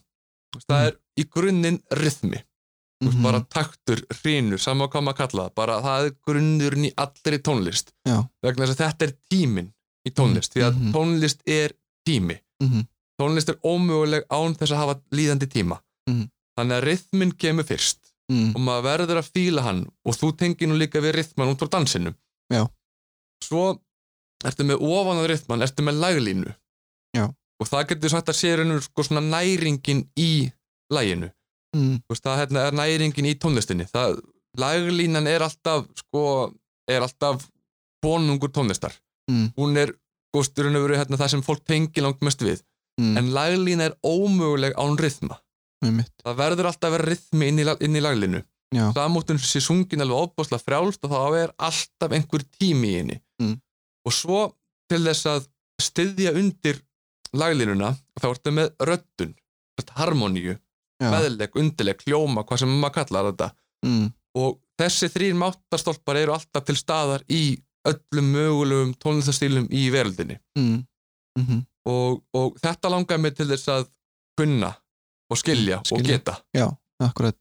Speaker 2: það
Speaker 1: Mm.
Speaker 2: er í grunninn rithmi mm
Speaker 1: mhm,
Speaker 2: bara taktur, hrínu, sama hvað maður kalla það bara það er grunnurinn í allri tónlist
Speaker 1: Já.
Speaker 2: vegna þess að þetta er tíminn í tónlist, því að
Speaker 1: Mhm.
Speaker 2: tónlist er tími
Speaker 1: mhm,
Speaker 2: tónlist er ómöguleg án þess að hafa líðandi tíma
Speaker 1: Mhm.
Speaker 2: þannig að rithminn kemur fyrst
Speaker 1: mm,
Speaker 2: og maður verður að fíla hann og þú tengir nú líka við rithmann út frá dansinum
Speaker 1: Já.
Speaker 2: svo ertu með ofan á rithmann, ertu með laglínu
Speaker 1: Já.
Speaker 2: og það getur sagt að sé raunum sko svona næringin í læginu
Speaker 1: mm,
Speaker 2: þú veist, það hérna, er næringin í tónlistinni það, laglínan er alltaf sko, er alltaf bonungur tónlistar
Speaker 1: Mm.
Speaker 2: hún er, góðsturinn hefur verið hérna, það sem fólk tengir langt mest við
Speaker 1: mm,
Speaker 2: en laglína er ómöguleg án rithma
Speaker 1: einmitt,
Speaker 2: það verður alltaf að vera rithmi inn í, lag- inn í laglínu
Speaker 1: Já.
Speaker 2: samúttun sé sungin alveg óbáslega frjálst og þá er alltaf einhver tími í henni
Speaker 1: Mm.
Speaker 2: og svo til þess að styðja undir laglínuna þá ertu með röddun harmoníu
Speaker 1: já,
Speaker 2: meðleik, undirleik, hljóma, hvað sem maður kallar þetta
Speaker 1: mm,
Speaker 2: og þessi þrýr máttarstólpar eru alltaf til staðar í öllum mögulegum tónlistastílum í veröldinni
Speaker 1: mm, mhm,
Speaker 2: og, og þetta langaði mig til þess að kunna og skilja, og
Speaker 1: Skilja.
Speaker 2: geta
Speaker 1: akkurat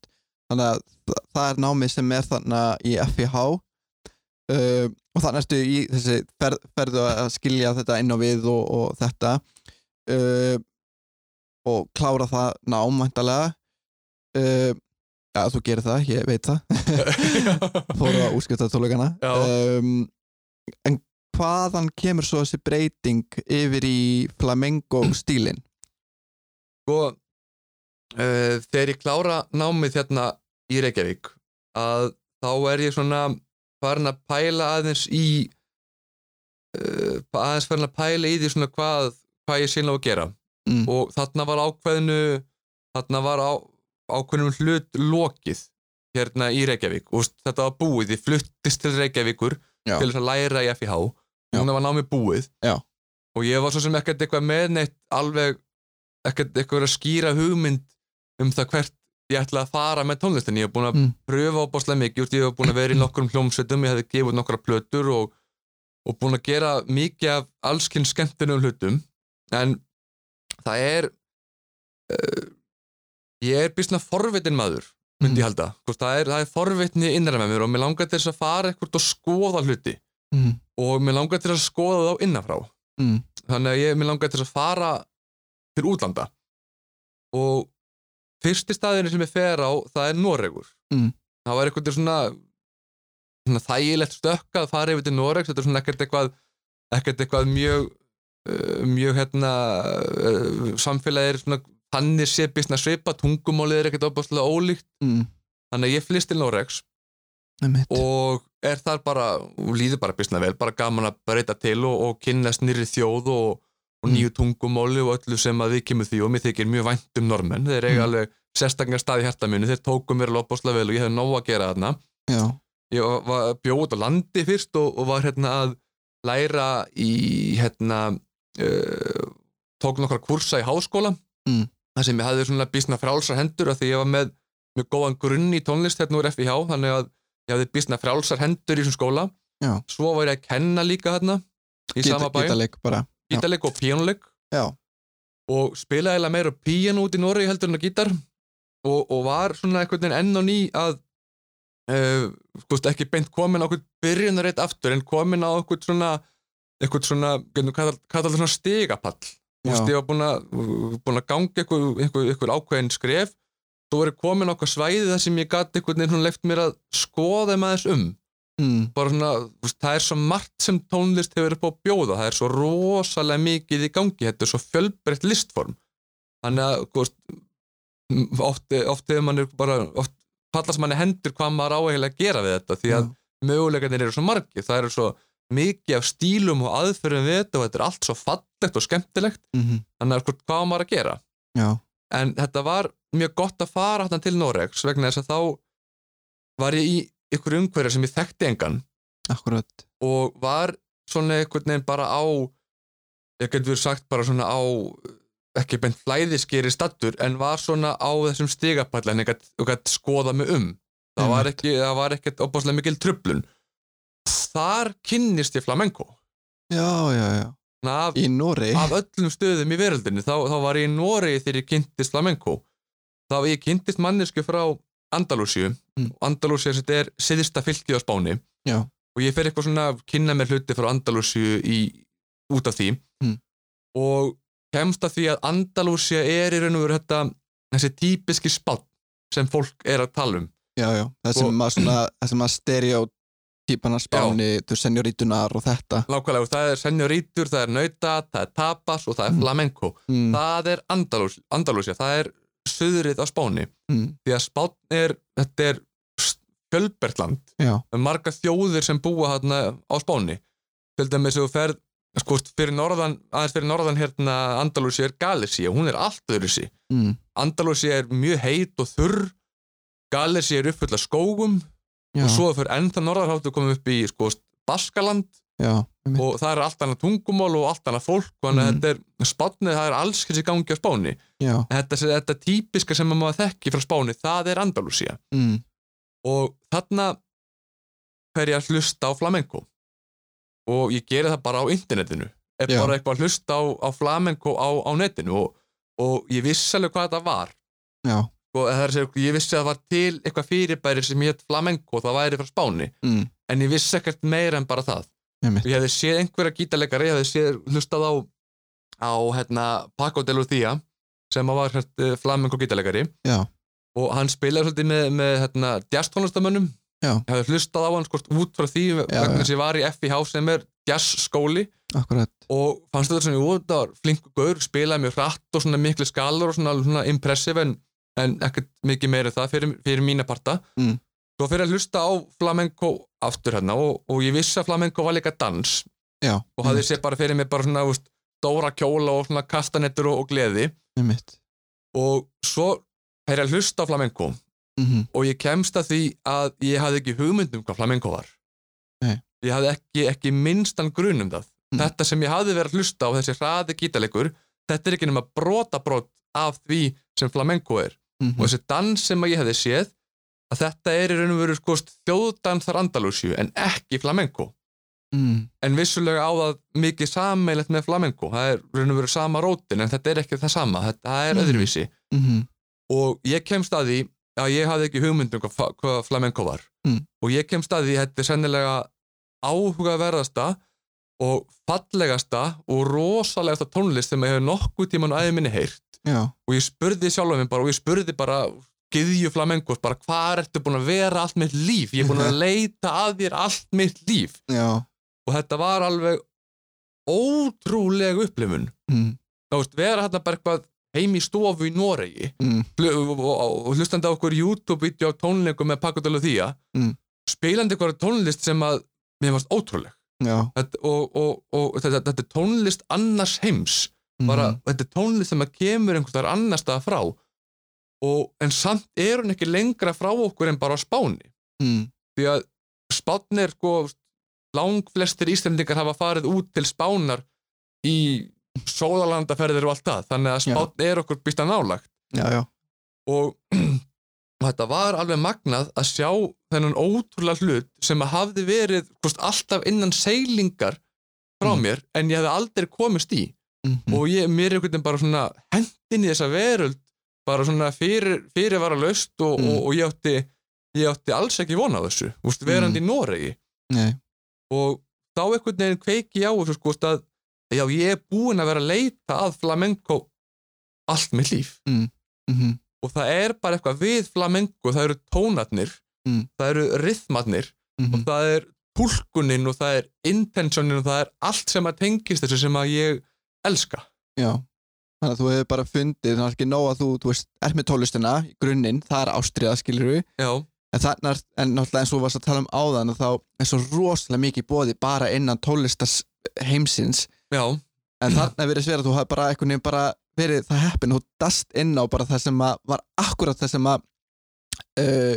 Speaker 1: þannig að þa- það er námið sem er þarna í FIH uh, og þannig ertu í þessi fer, ferðu að skilja þetta inn á við og, og þetta uh, og klára það námæntalega uh, já, þú gerir það, ég veit það fóru á útskiptartónleikana
Speaker 2: Já.
Speaker 1: um, en hvaðan kemur svo þessi breyting yfir í flamengo stílin
Speaker 2: sko uh, þegar ég klára námið hérna í Reykjavík að þá er ég svona farin að pæla aðeins í uh, aðeins farin að pæla í því svona hvað, hvað ég sinna á að gera
Speaker 1: mm,
Speaker 2: og þarna var ákveðinu þarna var á, ákveðnum hlut lokið hérna í Reykjavík og þetta var búið, ég fluttist til Reykjavíkur
Speaker 1: Já.
Speaker 2: til þess að læra í FIH
Speaker 1: Já.
Speaker 2: núna var námi búið
Speaker 1: Já.
Speaker 2: og ég var svo sem ekkert eitthvað með neitt alveg ekkert eitthvað að skýra hugmynd um það hvert ég ætla að fara með tónlistin ég hef búin að
Speaker 1: Mm.
Speaker 2: pröfa ábáslega mikið úst, ég hef búin að vera í nokkrum hljómsveitum ég hefði gefið út nokkra plötur og, og búin að gera mikið af allskinn skemmtunum hlutum en það er uh, ég er býstna forvitin maður myndi ég halda, Hvort, það, er, það er forvitni innra með mér og mér langar til þess að fara ekkert og skoða hluti Mhm.
Speaker 1: mm,
Speaker 2: og mér langar til að skoða þá innanfrá
Speaker 1: Mm.
Speaker 2: þannig að ég, mér langar til þess að fara til útlanda og fyrsti staðinu sem ég fer á það er Noregur
Speaker 1: Mm.
Speaker 2: það var eitthvað svona, svona þægilegt stökk að fara yfir til Noregs þetta er svona ekkert eitthvað, ekkert eitthvað mjög uh, mjög hérna uh, samfélagið er svona þannig sé býstna svipa, tungumálið er ekkert opaslega ólíkt,
Speaker 1: mm,
Speaker 2: þannig að ég flyst til Noregs
Speaker 1: einmitt.
Speaker 2: og er þar bara, og líður bara býstna vel, bara gaman að breyta til og, og kynnast nýri þjóð og, og
Speaker 1: Mm.
Speaker 2: nýju tungumáli og öllu sem að við kemur því og mér þykir mjög vænt um normenn, þeir eiga
Speaker 1: Mm.
Speaker 2: alveg sérstaklega stað í hjarta mínu, þeir tóku mér lopaslega vel og ég hef nóg að gera þarna
Speaker 1: já,
Speaker 2: ég var- var bjóð út á landi fyrst og, og var hérna að læra í hérna uh, tók nokkra kursa í háskóla
Speaker 1: Mm.
Speaker 2: þar sem ég hafði svona bísna frálsar hendur af því ég var með mjög góðan grunn í tónlist hérna úr FIH þannig að ég hafði bísna frálsar hendur í þessum skóla
Speaker 1: Já.
Speaker 2: svo var ég að kenna líka hérna í sama bæ
Speaker 1: gítaleik bara já.
Speaker 2: gítarleik og píjónuleik
Speaker 1: Já.
Speaker 2: og spilaði eiginlega meira píjón út í Noregi heldur en að gítar og, og var svona einhvern veginn enn og ný að uh, skúst, ekki beint komin á einhvern byrjunarétt aftur en komin á einhvern svona einhvern svona, hvernig kallar kallar það svona stigapall
Speaker 1: Já.
Speaker 2: Vist, ég var búin að, búin að ganga einhver, einhver, einhver ákveðin skref þú verið komin á eitthvað svæði þar sem ég gat einhvern veginn leift mér að skoða maður um
Speaker 1: mm,
Speaker 2: bara svona, þú veist, það er svo margt sem tónlist hefur upp á að bjóða, það er svo rosalega mikið í gangi, þetta er svo fjölbreytt listform, þannig að þú veist, m- oft, oft hefur mann bara, oft fallast manni hendur hvað maður á eiginlega að gera við þetta því að
Speaker 1: já,
Speaker 2: möguleikarnir eru svo margir, það eru svo mikið af stílum og aðferðum við þetta og þetta er allt svo fallegt og skemmtilegt
Speaker 1: mhm,
Speaker 2: þannig að hvort- hvað á maður að gera
Speaker 1: já,
Speaker 2: en þetta var mjög gott að fara hann til Noregs vegna þess að þá var ég í ykkur umhverju sem ég þekkti engan
Speaker 1: akkurat
Speaker 2: og var svona einhvern veginn bara á ég getur sagt bara svona á ekki beint flæðiskeri stattur en var svona á þessum stigapall en ég gat, ég gat skoða mig um það var, ekki, það var ekkert opaslega mikil tröflun þar kynnist ég flamenco
Speaker 1: já, já, já,
Speaker 2: Svona af,
Speaker 1: í Nóri
Speaker 2: af öllum stöðum í veröldinni þá, þá var ég í Noregi þegar ég kynntist flamenco þá ég kynntist mannesku frá Andalúsíu
Speaker 1: Mm.
Speaker 2: Andalúsíu þetta er siðista fylki á Spáni
Speaker 1: Já.
Speaker 2: og ég fer eitthvað svona að kynna mér hluti frá Andalúsíu í, út af því
Speaker 1: Mm.
Speaker 2: og kemst að því að Andalúsíu er í raun og veru þetta þessi típiski spátt sem fólk er að tala um
Speaker 1: já, já, það
Speaker 2: Og-
Speaker 1: sem að svona, það sem að stereotýpana spáni, þú senjorítunar og þetta
Speaker 2: nákvæmlega og það er senjorítur, það er nauta, það er tapas og það er
Speaker 1: Mm.
Speaker 2: flamenco
Speaker 1: mm,
Speaker 2: það er Andalús, Andalúsíu, það er suðrið á Spáni
Speaker 1: mm,
Speaker 2: því að Spán er, þetta er fjölbertland,
Speaker 1: já,
Speaker 2: marga þjóðir sem búa hérna á Spáni til dæmis ef þú ferð sko, fyrir norðan, aðeins fyrir norðan hérna Andalúsi er Galisi og hún er allt öðruvísi
Speaker 1: mm,
Speaker 2: Andalúsi er mjög heit og þurr Galisi er uppfull af skógum
Speaker 1: já,
Speaker 2: og svo fyrir enda norðar háttu komum upp í sko, Baskaland
Speaker 1: já, einmitt.
Speaker 2: og það er allt annað tungumál og allt annað fólk þannig að
Speaker 1: Mm.
Speaker 2: þetta er spánni, það er alls þessi gangi á Spáni
Speaker 1: já,
Speaker 2: þetta, þetta típiska sem maður þekki frá Spáni, það er Andalúsía
Speaker 1: mm,
Speaker 2: og þarna fer ég að hlusta á flamenco og ég geri það bara á internetinu er
Speaker 1: Já.
Speaker 2: bara eitthvað að hlusta á, á flamenco á, á netinu og, og ég vissi alveg hvað þetta var
Speaker 1: já,
Speaker 2: og það er að segja, ég vissi að það var til eitthvað fyrirbæri sem hétt flamenco og það væri frá Spáni
Speaker 1: mm,
Speaker 2: en ég vissi ekkert meira en bara það
Speaker 1: Einmitt.
Speaker 2: ég hefði séð einhverja gítarleikari ég hefði séð hlustað á á hérna Paco de Lucia sem var hérna, flamenco gítarleikari
Speaker 1: já,
Speaker 2: og hann spilaði svolítið með, með hérna, jazztónlistamönnum
Speaker 1: Já.
Speaker 2: ég hefði hlustað á hann skort út frá því
Speaker 1: já.
Speaker 2: vegna sem ég var í FIH sem er jazzskóli
Speaker 1: akkurat
Speaker 2: og fannst þetta svona, jú, þetta var flinkur gaur spilaði mjög hratt og svona miklu skalur og svona, svona impressive en, en ekkert mikið meira en það fyrir, fyrir mína parta
Speaker 1: Mm.
Speaker 2: svo fyrir að hlusta á flamenco aftur hérna og, og ég vissi að flamenco var líka dans
Speaker 1: já, Mm,
Speaker 2: og hafði sér bara fyrir mig bara svona, þú veist, dóra kjóla og svona kastanettur og, og gleði
Speaker 1: einmitt
Speaker 2: og svo fyrir að hlusta á flamenco
Speaker 1: mhm,
Speaker 2: og ég kemst að því að ég hafði ekki hugmynd um hvað flamenco var
Speaker 1: Nei.
Speaker 2: ég hafði ekki, ekki minnstan grun um það
Speaker 1: Mm.
Speaker 2: þetta sem ég hafði verið að hlusta á þessi hraði gítalegur þetta er ekki nema brotabrot af því sem flamenco er og
Speaker 1: mhm,
Speaker 2: þessi dans sem að ég hefði séð að þetta er í raun og veru sko þjóðdansar Andalusíu en ekki flamenco
Speaker 1: mm,
Speaker 2: en vissulega á það mikið sameilegt með flamenco það er í raun og veru sama rótin en þetta er ekki það sama, þetta það er
Speaker 1: Mm.
Speaker 2: öðruvísi
Speaker 1: mhm,
Speaker 2: og ég kemst að því að ég hafði ekki hugmynd um hvað, fa- hvað flamenco var
Speaker 1: Mm.
Speaker 2: og ég kemst að því að þetta er sennilega áhugaverðasta og fallegasta og rosalegasta tónlist sem ég hefur nokkuð tíman aðeins minni heyrt
Speaker 1: já,
Speaker 2: og ég spurði sjálfum minn bara og ég spurði bara gyðju flamengos bara hvað ertu búin að vera allt mitt líf ég er búin að leita að þér allt mitt líf
Speaker 1: já
Speaker 2: og þetta var alveg ótrúleg upplifun
Speaker 1: mm,
Speaker 2: þá veist, vera hérna bara eitthvað heim í stofu í Noregi
Speaker 1: mm,
Speaker 2: hlu- og- og og hlustandi á okkur YouTube-vídeó á tónleikum með Paco de Lucia
Speaker 1: Mm.
Speaker 2: spilandi eitthvað tónlist sem að mér varst ótrúleg
Speaker 1: já
Speaker 2: þetta, og, og, og þetta, þetta er tónlist annars heims bara,
Speaker 1: mm,
Speaker 2: þetta er tónlist sem að kemur einhvers þar annars staða frá og, en samt er hún ekki lengra frá okkur en bara á Spáni
Speaker 1: mm,
Speaker 2: því að Spáni er sko langflestir Íslendingar hafa farið út til Spánar í sóðalandaferðir og allt það þannig að
Speaker 1: Já.
Speaker 2: Spán er okkur býsta nálagt
Speaker 1: já, já,
Speaker 2: og þetta var alveg magnað að sjá þennan ótrúlega hlut sem að hafði verið hvort, alltaf innan seilingar frá
Speaker 1: Mm.
Speaker 2: mér en ég hafði aldrei komist í
Speaker 1: mhm,
Speaker 2: og ég, mér einhvern veginn bara svona hendin í þessa veröld bara svona fyrir, fyrir var að laust og,
Speaker 1: Mm.
Speaker 2: og, og ég átti ég átti alls ekki vona á þessu úst,
Speaker 1: Mm.
Speaker 2: verandi í Noregi
Speaker 1: nei,
Speaker 2: og þá einhvern veginn kveiki ég á þessu sko að já ég er búinn að vera að leita að flamenco allt mitt líf
Speaker 1: mhm,
Speaker 2: og það er bara eitthvað við flamenco það eru tónarnir,
Speaker 1: Mm.
Speaker 2: það eru rithmarnir
Speaker 1: mhm,
Speaker 2: og það er tólkunin og það er intentionin og það er allt sem að tengist þessu sem að ég elska
Speaker 1: já Þannig að þú hefur bara fundið, þannig að ekki nóg að þú, þú veist, er með tólistina, í grunninn, það er ástriða, skilur við,
Speaker 2: já,
Speaker 1: en þarna, er- en náttúrulega eins og þú varst að tala um áðan, að þá er svo rosalega mikið bóði bara innan tólistas heimsins,
Speaker 2: já,
Speaker 1: en þarna verið sver að þú hafði bara einhvern veginn bara verið það heppin og dast inn á bara það sem að var akkurat það sem að uh,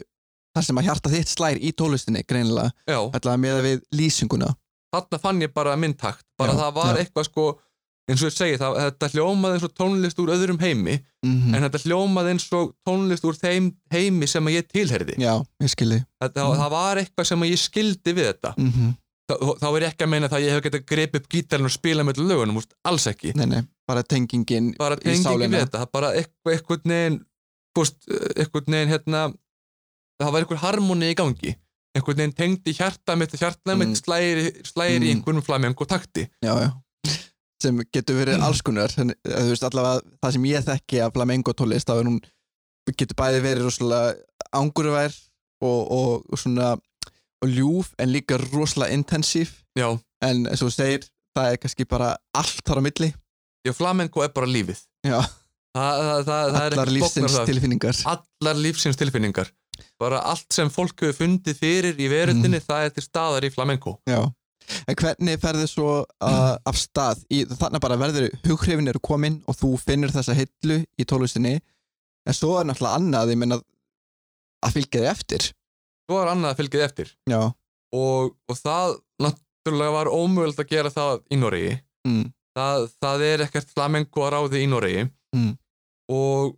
Speaker 1: það sem að hjarta þitt slær í tólistinni greinilega,
Speaker 2: já
Speaker 1: allavega með við lýsinguna
Speaker 2: þarna fann ég bara minn takt bara
Speaker 1: Já,
Speaker 2: það var
Speaker 1: já.
Speaker 2: eitthvað sko eins og ég segi, það, þetta hljómaði eins og tónlist úr öðrum heimi,
Speaker 1: mm
Speaker 2: en þetta hljómaði eins og tónlist úr þeim heimi sem að ég tilherði
Speaker 1: Já, ég skilji
Speaker 2: þetta,
Speaker 1: Mm.
Speaker 2: það var eitthvað sem að ég skildi við þetta
Speaker 1: mm
Speaker 2: þá, þá er ég ekki að meina það að ég hef getað grip upp gítarinn og spila með lögunum, úst, alls ekki
Speaker 1: Nei, nei, bara tengingin
Speaker 2: bara tengi
Speaker 1: sálina.
Speaker 2: við þetta, það er bara eitthvað, eitthvað negin búst, eitthvað negin eh, hérna það var eitthvað harmoni í gangi eitthvað negin tengdi hjarta mitt hjarta mitt
Speaker 1: Mm.
Speaker 2: slægir, slægir í
Speaker 1: Mm.
Speaker 2: einhvernum flamengu takti
Speaker 1: Já, já sem getur verið alls konar en, eh, þú veist allavega það sem ég þekki af flamengo tólist þá er hún getur bæði verið rosalega angurvær og, og, og svona og ljúf en líka rosalega intensív
Speaker 2: já,
Speaker 1: en eins og þú segir, það er kannski bara allt þar á milli
Speaker 2: já flamengu er bara lífið
Speaker 1: Já.
Speaker 2: það, það, það, það er
Speaker 1: allar
Speaker 2: ekki
Speaker 1: lífsins
Speaker 2: bóknar það.
Speaker 1: tilfinningar
Speaker 2: allar lífsins tilfinningar bara allt sem fólk hefur fundið fyrir í verundinni,
Speaker 1: Mm.
Speaker 2: það er til staðar í flamengu
Speaker 1: Já. en hvernig ferðu svo uh, af stað í, þannig bara verður hughrifin eru komin og þú finnur þessa hillu í tólustinni en svo er náttúrulega annað ég meina að fylgja þig eftir
Speaker 2: svo er annað að fylgið eftir
Speaker 1: já,
Speaker 2: og, og það náttúrulega var ómögulegt að gera það í Noregi
Speaker 1: mm.
Speaker 2: það, það er ekkert flamenco að ráði í Noregi
Speaker 1: Mm.
Speaker 2: og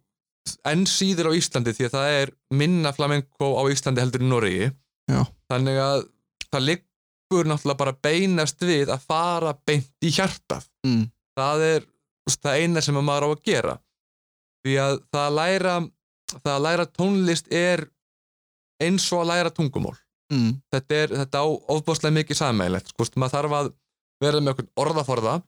Speaker 2: enn síður á Íslandi því að það er minna flamenco á Íslandi heldur í Noregi
Speaker 1: Já.
Speaker 2: þannig að það liggur náttúrulega bara beinast við að fara beint í hjartað
Speaker 1: Mm.
Speaker 2: það er það eina sem að maður á að gera því að það að læra það að læra tónlist er eins og að læra tungumál
Speaker 1: Mm.
Speaker 2: þetta, er, þetta á ofbáslega mikið sammeilegt sko, veist, maður þarf að vera með einhvern orðaforða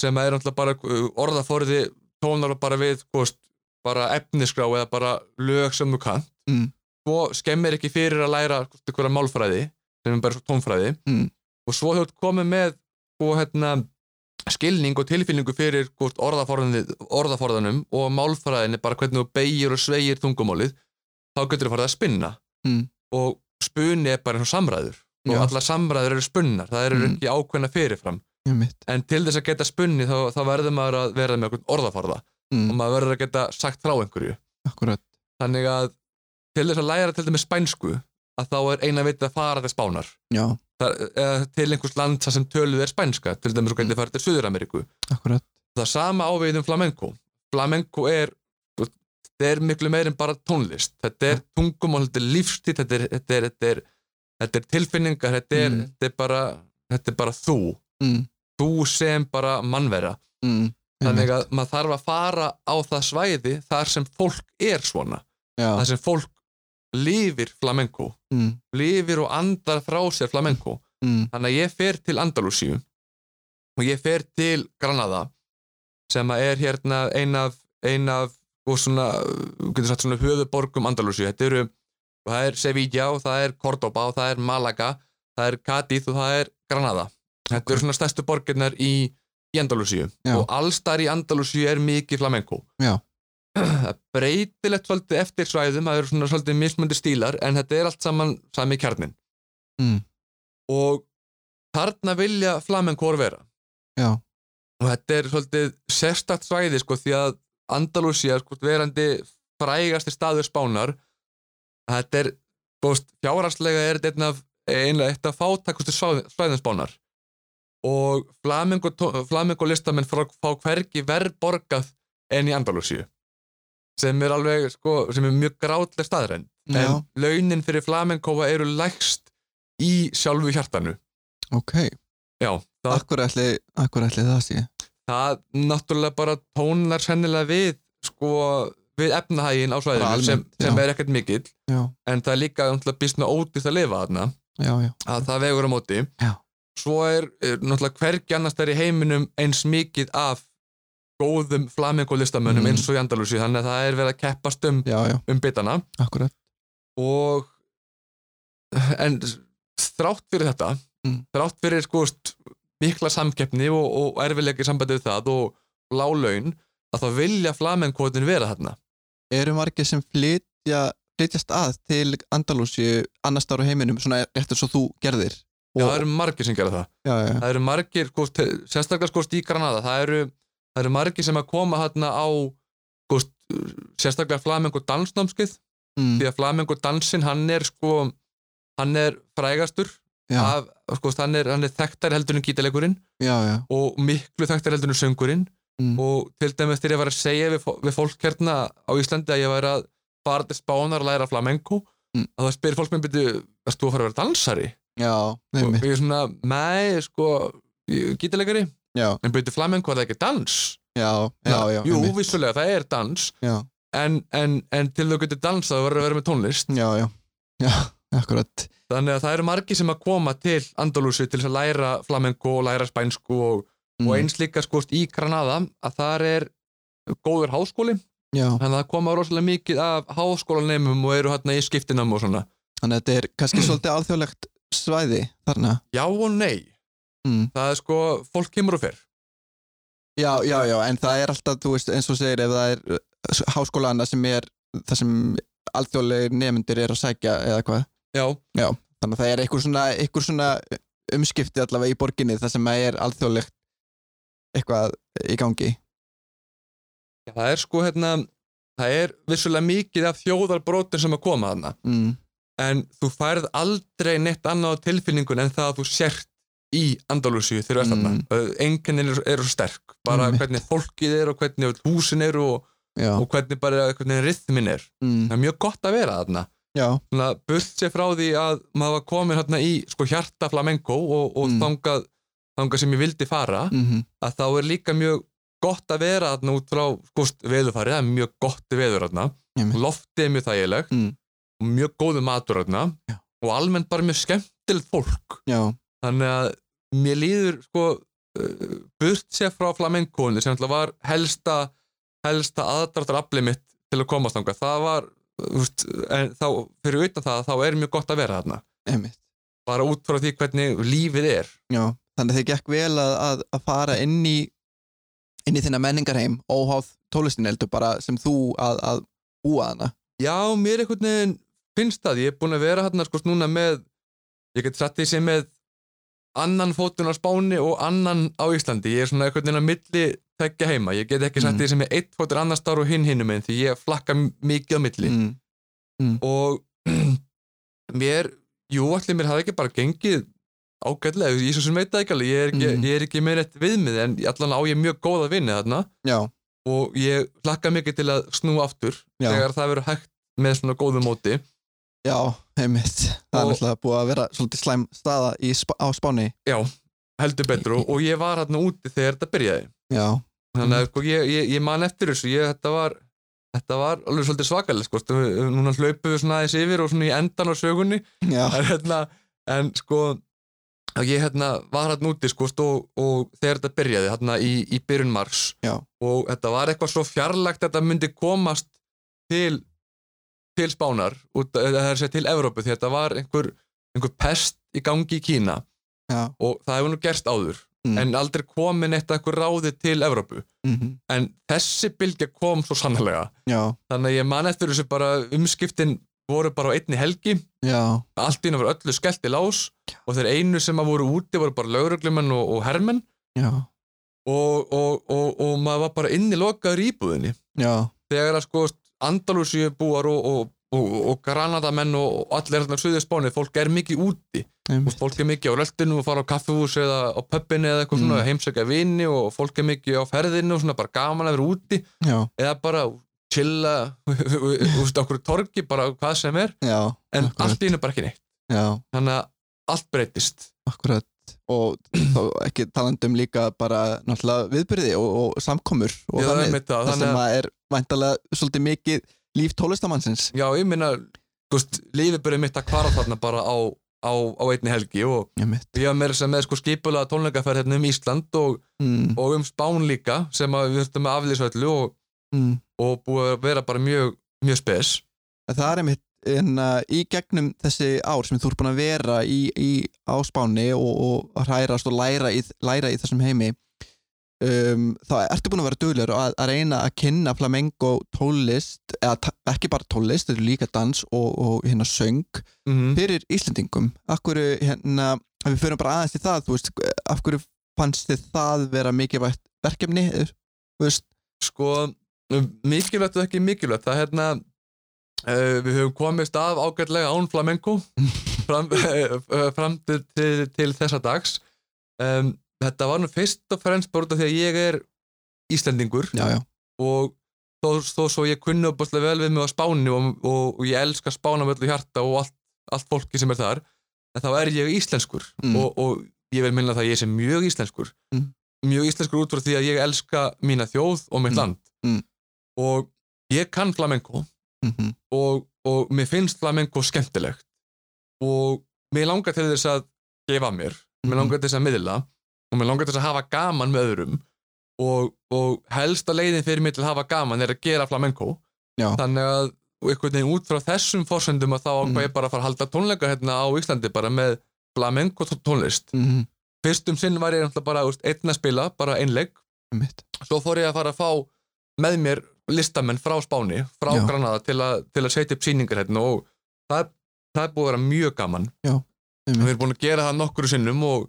Speaker 2: sem er náttúrulega bara uh, orðaforði tónar bara við sko, veist, bara efniskrá eða bara lög sem þú kann
Speaker 1: Mm.
Speaker 2: svo skemmir ekki fyrir að læra sko, einhverja málfræði sem er bara svo tónfræði
Speaker 1: Mm.
Speaker 2: og svo þú ert komið með sko, hérna, skilning og tilfinningu fyrir hvort orðaforðanum, orðaforðanum og málfræðinni bara hvernig þú beigir og sveigir tungumálið þá getur þú farið að spinna
Speaker 1: Mm.
Speaker 2: og spuni er bara eins og samræður og
Speaker 1: Já.
Speaker 2: allar samræður eru spunnar það eru
Speaker 1: Mm.
Speaker 2: ekki ákveðna fyrirfram
Speaker 1: einmitt.
Speaker 2: en til þess að geta spunni þá, þá verður maður að vera með einhvern orðaforða og
Speaker 1: Mm.
Speaker 2: maður verður að geta sagt frá einhverju
Speaker 1: akkurat
Speaker 2: þannig að til þess að læra til dæmis spænsku að þá er eina viti að fara til spánar
Speaker 1: já,
Speaker 2: Þar, eða, til einhvers land þar sem töluð er spænska til dæmis og
Speaker 1: Mm.
Speaker 2: gæti farið til Suður-Ameríku
Speaker 1: akkurat
Speaker 2: það sama ávið um flamenco flamenco er þetta er miklu meir en bara tónlist þetta
Speaker 1: Mm.
Speaker 2: er tungumál, þetta er lífstíð þetta er, þetta er, þetta er, þetta er tilfinningar þetta er,
Speaker 1: Mm.
Speaker 2: þetta, er bara, þetta er bara þú
Speaker 1: mm.
Speaker 2: þú sem bara mannvera
Speaker 1: Mm.
Speaker 2: þannig að maður þarf að fara á það svæði þar sem fólk er svona
Speaker 1: já,
Speaker 2: þar sem fólk lifir flamenco
Speaker 1: mm.
Speaker 2: lifir og andar frá sér flamenco
Speaker 1: Mm.
Speaker 2: Þannig að ég fer til Andalusíu og ég fer til Granada sem að er hérna ein af, ein af og svona, þú getur sagt svona höfuborgum Andalúsi, þetta eru og það er Sevilla og það er Cordoba og það er Malaga, það er Cadiz og það er Granada. Þetta eru svona stærstu borginnar í, í Andalúsíu
Speaker 1: Já.
Speaker 2: og allstar í Andalúsíu er mikið flamenco.
Speaker 1: Já.
Speaker 2: Það er breytilegt svolítið eftir svæðum, það eru svona svolítið mismöndi stílar en þetta er allt saman sami kjarnin.
Speaker 1: Mm.
Speaker 2: Og þarna vilja flamenco vera
Speaker 1: Já.
Speaker 2: og þetta er svolítið sérstakt svæði sko því að Andalusia sko verandi frægasti staður Spánar þetta er bóst fjárhagslega er þetta einn af einlega eitt af fátækustu svæð- svæðum Spánar og flamengo, tó- flamengo listamenn frá, fá hvergi verð borgað en í Andalusiu sem er alveg sko sem er mjög grátleg staðrænd
Speaker 1: Já.
Speaker 2: en launin fyrir flamenkóa eru lægst í sjálfu hjartanu
Speaker 1: Ok.
Speaker 2: já, það
Speaker 1: Akkur ætli, akkur ætli það sé.
Speaker 2: það náttúrulega bara tónar sennilega við sko, við efnahægin á
Speaker 1: Bara
Speaker 2: svæðinu
Speaker 1: almennt,
Speaker 2: sem, sem
Speaker 1: já.
Speaker 2: er ekkert mikill
Speaker 1: Já.
Speaker 2: en það er líka náttúrulega býstna ódýrt að lifa þarna
Speaker 1: Já, já.
Speaker 2: að það vegur á móti
Speaker 1: Já.
Speaker 2: svo er, er náttúrulega hvergi annars þær í heiminum eins mikið af góðum flamenkólistamönnum
Speaker 1: Mm.
Speaker 2: eins og í Andalúsi þannig að það er verið að keppast um,
Speaker 1: Já, já.
Speaker 2: um bitana
Speaker 1: Akkur
Speaker 2: og en þrátt fyrir þetta
Speaker 1: Mm.
Speaker 2: þrátt fyrir sko st- mikla samkeppni og, og erfiðleiki sambandi við það og lálaun að þá vilja flamenkóðin vera þarna
Speaker 1: Eru margir sem flytja, flytjast að til Andalúsi annars þar á heiminum, svona eftir svo þú gerðir?
Speaker 2: Já, það eru margir sem gera það
Speaker 1: Já, já, já.
Speaker 2: það eru margir, sko, te- sérstaklega sko í Granada það eru, það eru margir sem að koma þarna á sko, sérstaklega flamenko dansnámskið
Speaker 1: Mm.
Speaker 2: því að flamenko dansin hann er sko hann er frægastur
Speaker 1: Já,
Speaker 2: af, sko, hann, er, hann er þekktar heldur en gítalegurinn
Speaker 1: já, já.
Speaker 2: og miklu þekktar heldur en söngurinn
Speaker 1: Mm.
Speaker 2: og til dæmis þegar ég var að segja við, fó- við fólk hérna á Íslandi að ég væri að fara til Spánar að læra flamenco
Speaker 1: Mm.
Speaker 2: að það spyrir fólk mér byrju, erst þú að fara að vera dansari?
Speaker 1: Já,
Speaker 2: og
Speaker 1: nefnir.
Speaker 2: ég er svona, mei, sko gítilegari,
Speaker 1: Já,
Speaker 2: en byrju flamenco er það ekki dans?
Speaker 1: já, já, já.
Speaker 2: Jú,
Speaker 1: einmitt.
Speaker 2: vissulega, það er dans
Speaker 1: Já,
Speaker 2: en, en, en til þú getur dansað það verður að vera með tónlist
Speaker 1: já, já. Já, akkurat.
Speaker 2: þannig að það eru margi sem að koma til Andalúsi til þess að læra flamenco og læra spænsku og,
Speaker 1: Mm, Mhm.
Speaker 2: og eins líka sko í Granada að þar er góður háskóli
Speaker 1: Já,
Speaker 2: þannig að það koma rosalega mikið af háskólanemum og eru hérna í skiptinam og svona
Speaker 1: þannig að þetta er kannski svolítið alþjóðlegt svæði þarna.
Speaker 2: já og nei,
Speaker 1: Mm.
Speaker 2: það er sko fólk kemur og fer,
Speaker 1: Já, já, já, en það er alltaf, þú veist, eins og þú segir, ef það er uh, háskóla annað sem er það sem alþjóðlegir nefndir er að sækja eða hvað.
Speaker 2: já,
Speaker 1: Þannig að það er einhver svona, einhver svona umskipti allavega í borginni þar sem að er alþjóðlegt eitthvað í gangi.
Speaker 2: það er sko hérna það er vissulega mikið af þjóðarbrotin sem að koma þarna,
Speaker 1: Mm.
Speaker 2: en þú færð aldrei neitt annað á tilfinningun en það að þú sért í Andalúsíu þegar þú ert
Speaker 1: Mm.
Speaker 2: þarna, enginnin eru, eru sterk bara
Speaker 1: Einmitt.
Speaker 2: hvernig fólkið er og hvernig öll húsin eru og,
Speaker 1: Já.
Speaker 2: og hvernig bara hvernig rithmin er,
Speaker 1: Mm.
Speaker 2: það er mjög gott að vera þarna
Speaker 1: Já.
Speaker 2: svona burt sér frá því að maður var komin hérna í sko hjarta flamenco og, og
Speaker 1: Mm.
Speaker 2: þangað, þangað sem ég vildi fara
Speaker 1: Mm
Speaker 2: að þá er líka mjög gott að vera hérna út frá sko veðurfarið, það er mjög gott veður hérna,
Speaker 1: Einmitt.
Speaker 2: loftið er mjög þægilegt
Speaker 1: Mm.
Speaker 2: og mjög góðu matur hérna
Speaker 1: Já.
Speaker 2: og almennt bara mjög skemmtilegt fólk
Speaker 1: Já.
Speaker 2: þannig að mér líður sko uh, burt sér frá flamencoinu sem alltaf var helsta helsta aðdráttarafli mitt til að komast þangað, það var þú veist, en þá, fyrir utan það, þá er mjög gott að vera þarna,
Speaker 1: Einmitt.
Speaker 2: bara út frá því hvernig lífið er,
Speaker 1: Já. Þannig að þið gekk vel að, að, að fara inn í inn í þinna menningarheim óháð tólistin heldur bara sem þú að, að búa hana.
Speaker 2: já, mér einhvern veginn finnst það, ég er búin að vera þarna sko núna með, ég get satt því sem með annan fótun á Spáni og annan á Íslandi, ég er svona einhvern veginn að milli tekja heima, ég get ekki satt
Speaker 1: Mm.
Speaker 2: því sem með eitt fótun annar starf og hinn hinnum en því ég flakka m- mikið á milli
Speaker 1: Mm.
Speaker 2: og mér, jú, allir mér hafi ekki bara gengið ágætlega, ég svo sem veit það ekki alveg, ég er ekki,
Speaker 1: Mhm.
Speaker 2: ég er ekki með rétt viðmið en allan á ég mjög góða vinni þarna
Speaker 1: Já.
Speaker 2: og ég hlakka mikið til að snúa aftur
Speaker 1: Já.
Speaker 2: þegar það verður hægt með svona góðu móti
Speaker 1: Já, einmitt. Það er
Speaker 2: Og-
Speaker 1: náttúrulega búið að vera svolítið slæm staða í, sp- á Spáni.
Speaker 2: heldur betur og, og ég var hérna úti þegar þetta byrjaði
Speaker 1: Já,
Speaker 2: þannig að sko, ég, ég, ég man eftir þessu ég, þetta, var, þetta var alveg svolítið svakalega sko. Þú- núna hlaupum við svona aðeins yfir og svona í endan á sögunni
Speaker 1: já,
Speaker 2: en, hérna, en sko að ég hérna, var hérna úti sko, stó, og þegar þetta byrjaði hérna, í, í byrjun mars
Speaker 1: Já.
Speaker 2: og þetta var eitthvað svo fjarlægt að þetta myndi komast til, til Spánar út, eh, eða það er að segja til Evrópu því þetta var einhver, einhver pest í gangi í Kína
Speaker 1: Já.
Speaker 2: og það hefur nú gerst áður
Speaker 1: Mm.
Speaker 2: en aldrei komin eitt eitthvað ráði til Evrópu
Speaker 1: mhm,
Speaker 2: en þessi bylgja kom svo sannlega
Speaker 1: Já.
Speaker 2: þannig að ég man eftir þessu bara umskiptin voru bara á einni helgi
Speaker 1: Já.
Speaker 2: allt í einu var öllu skellt í lás og þeir einu sem að voru úti voru bara lögreglumenn og, og hermenn
Speaker 1: Já.
Speaker 2: og, og, og, og maður var bara inni lokaður í íbúðinni
Speaker 1: Já.
Speaker 2: þegar að sko Andalusíu búar og, og, og, og Granadamenn og, og allir hérna suðið spánið, fólk er mikið úti og
Speaker 1: einmitt,
Speaker 2: fólk er mikið á röltinu og fara á kaffihús eða á pöppinu eða eitthvað svona
Speaker 1: Mm.
Speaker 2: heimsækja vini og fólk er mikið á ferðinu og svona bara gaman að vera úti
Speaker 1: Já.
Speaker 2: eða bara chilla úst okkur torgi bara hvað sem er
Speaker 1: Já.
Speaker 2: en
Speaker 1: akkurat,
Speaker 2: allt í einu bara ekki neitt
Speaker 1: Já.
Speaker 2: þannig að allt breytist
Speaker 1: Akkurat. Og þá ekki talandum líka bara náttúrulega viðbyrði og, og samkomur og
Speaker 2: Já,
Speaker 1: þannig.
Speaker 2: einmitt það,
Speaker 1: Það
Speaker 2: þannig
Speaker 1: sem
Speaker 2: að,
Speaker 1: að er væntalega svolítið mikið líf tólistamannsins.
Speaker 2: já, ég minna veist, lífiburðið mitt að kvara þarna bara á, á, á einni helgi og
Speaker 1: Já, mitt.
Speaker 2: ég var meira sem með sko skipulega tónleikaferð hérna um Ísland og,
Speaker 1: Mm.
Speaker 2: og um Spán líka sem að við þurftum að aflýsa öllu og,
Speaker 1: Mm.
Speaker 2: og búið að vera bara mjög, mjög spes
Speaker 1: En Það er einmitt en, uh, í gegnum þessi ár sem þú ert búin að vera í, í áspáni og, og hrærast og læra í, læra í þessum heimi um, þá ertu búin að vera duglegur að, að reyna að kynna flamenco tólist eða ta- ekki bara tólist, þetta er líka dans og, og hérna söng
Speaker 2: mm
Speaker 1: fyrir Íslendingum af hverju hérna, ef við fyrir bara aðeins í það þú veist, af hverju fannst þið það vera mikilvægt verkefni þú veist,
Speaker 2: sko mikilvægt og ekki mikilvægt það er hérna Uh, við höfum komist af ágætlega án flamenco fram, uh, fram til, til, til þessa dags um, þetta var nú fyrst og fremst bara út af því að ég er Íslendingur
Speaker 1: já, já,
Speaker 2: og þó, þó svo ég kunni opaslega vel við mig á Spáni og, og, og ég elska Spána með öllu hjarta og allt, allt fólki sem er þar en þá er ég íslenskur
Speaker 1: Mm.
Speaker 2: og, og ég vil minna það að ég sé mjög íslenskur
Speaker 1: Mm.
Speaker 2: mjög íslenskur út frá því að ég elska mína þjóð og mitt
Speaker 1: Mm.
Speaker 2: land
Speaker 1: Mm.
Speaker 2: og ég kann flamenco
Speaker 1: mm
Speaker 2: og, og mér finnst flamenco skemmtilegt og mér langar til þess að gefa mér,
Speaker 1: Mhm.
Speaker 2: mér langar til þess að miðla og mér langar til þess að hafa gaman með öðrum og, og helsta leiðin fyrir mér til að hafa gaman er að gera flamenco
Speaker 1: Já.
Speaker 2: þannig að og einhvern veginn út frá þessum forsendum að þá ákvað
Speaker 1: Mhm.
Speaker 2: ég bara að fara að halda tónleika hérna á Íslandi bara með flamenco tó- tónlist
Speaker 1: Mm
Speaker 2: fyrst um sinn var ég náttúrulega bara úst, einn að spila, bara einleik svo fór ég að fara að fá með mér listamenn frá Spáni, frá
Speaker 1: Já.
Speaker 2: Granada til, að, til að setja upp sýningar hérna og það, það er búið að vera mjög gaman
Speaker 1: Já, einmitt.
Speaker 2: við erum búin að gera það nokkru sinnum og,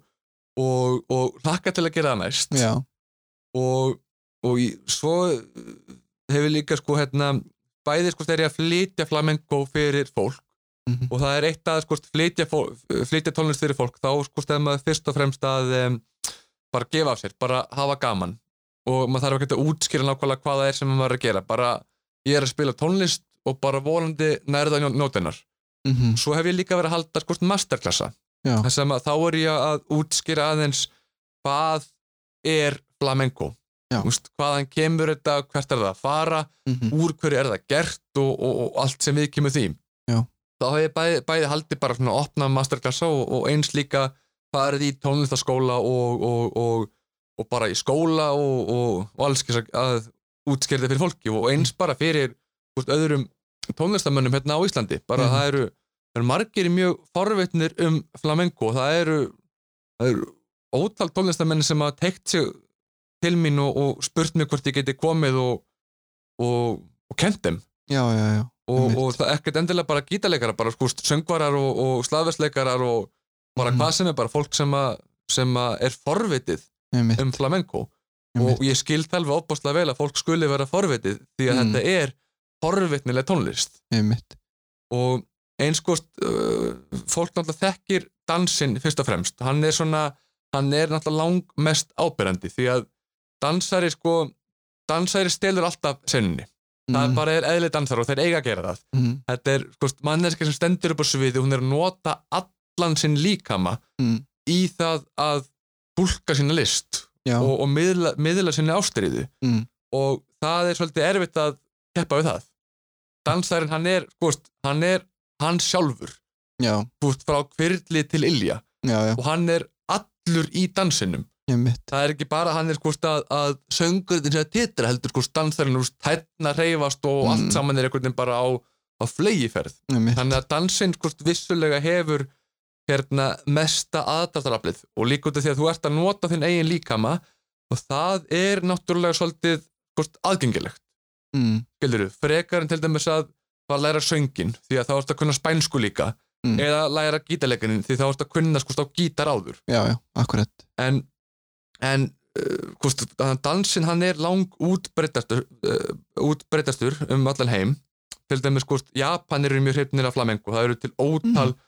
Speaker 2: og, og hlakka til að gera það næst
Speaker 1: já,
Speaker 2: og, og í- svo uh, hefur líka sko hérna bæði sko þegar ég að flytja flamenco fyrir fólk
Speaker 1: Mhm.
Speaker 2: og það er eitt að sko flytja, fó- flytja tónlist fyrir fólk þá sko stefna maður fyrst og fremst að um, bara gefa af sér, bara hafa gaman og maður þarf ekki að útskýra nákvæmlega hvað það er sem maður er að gera bara ég er að spila tónlist og bara volandi nærða nótinar
Speaker 1: mm
Speaker 2: svo hef ég líka verið að halda sko masterklassa
Speaker 1: Já.
Speaker 2: þar sem að þá er ég að útskýra aðeins hvað er flamenco
Speaker 1: Já.
Speaker 2: Úst, hvaðan kemur þetta, hvert er það að fara
Speaker 1: mhm.
Speaker 2: úr hverju er það gert og, og, og allt sem við kemur því
Speaker 1: Já.
Speaker 2: þá hef ég bæði, bæði haldið bara svona opna masterklassa og, og eins líka farið í tónlistaskóla og, og, og, og bara í skóla og, og, og alls kyns að- að útskýrði fyrir fólki og eins bara fyrir úst, öðrum tónlistamönnum hérna á Íslandi bara
Speaker 1: Mhm.
Speaker 2: það eru, það eru margir mjög forvitnir um flamenco og það eru, það eru ótal tónlistamenn sem hafa teikt sig til mín og, og spurt mig hvort ég geti komið og, og, og kent þeim
Speaker 1: já, já, já
Speaker 2: og,
Speaker 1: Einmitt.
Speaker 2: og það er ekkert endilega bara gítarleikara bara sko söngvarar og, og slagversleikarar og bara
Speaker 1: Mhm.
Speaker 2: hvað sem er bara fólk sem, að sem að er forvitið
Speaker 1: einmitt,
Speaker 2: um flamenco
Speaker 1: einmitt.
Speaker 2: og ég skil það alveg opaslega vel að fólk skuli vera forvitið því að
Speaker 1: Mm.
Speaker 2: þetta er forvitnileg tónlist
Speaker 1: einmitt.
Speaker 2: og eins sko uh, fólk náttúrulega þekkir dansinn fyrst og fremst hann er svona, hann er náttúrulega langmest ábyrjandi því að dansari sko, dansari stelur alltaf senninni, það er
Speaker 1: Mm,
Speaker 2: bara er eðli dansar og þeir eiga að gera það
Speaker 1: mm,
Speaker 2: þetta er sko, manneska sem stendur upp á sviði hún er að nota allan sinn líkama
Speaker 1: Mm.
Speaker 2: í það að búlka sína list
Speaker 1: já,
Speaker 2: og, og miðla, miðla sinni ástriðu
Speaker 1: Mm.
Speaker 2: og það er svolítið erfitt að keppa við það dansarinn hann er, sko, hann er hann sjálfur
Speaker 1: já,
Speaker 2: búst frá kvirli til ilja
Speaker 1: já, já
Speaker 2: og hann er allur í dansinum
Speaker 1: einmitt,
Speaker 2: það er ekki bara að hann er hvort að, að söngurinn sé að titra heldur hvort dansarinn úr tætna reyfast og
Speaker 1: Mm.
Speaker 2: allt saman er einhvern veginn bara á, á flegiferð
Speaker 1: einmitt.
Speaker 2: þannig að dansinn hvort vissulega hefur hérna mesta aðdáttaraflið og líka út af því að þú ert að nota þinn eigin líkama og það er náttúrulega svolítið hvort aðgengilegt
Speaker 1: Mm,
Speaker 2: skilur frekar en til dæmis að fara að læra söngin því að þá ertu að kunna spænsku líka
Speaker 1: Mm.
Speaker 2: eða læra gítarleikanin því þá ertu að kunna skust á gítar áður
Speaker 1: já, já, akkurat
Speaker 2: en, en uh, hvort, dansin hann er lang útbreytastur, uh, útbreytastur um allan heim til dæmis hvort Japan eru mjög hreifnir af flamenco það eru til ótal
Speaker 1: Mhm.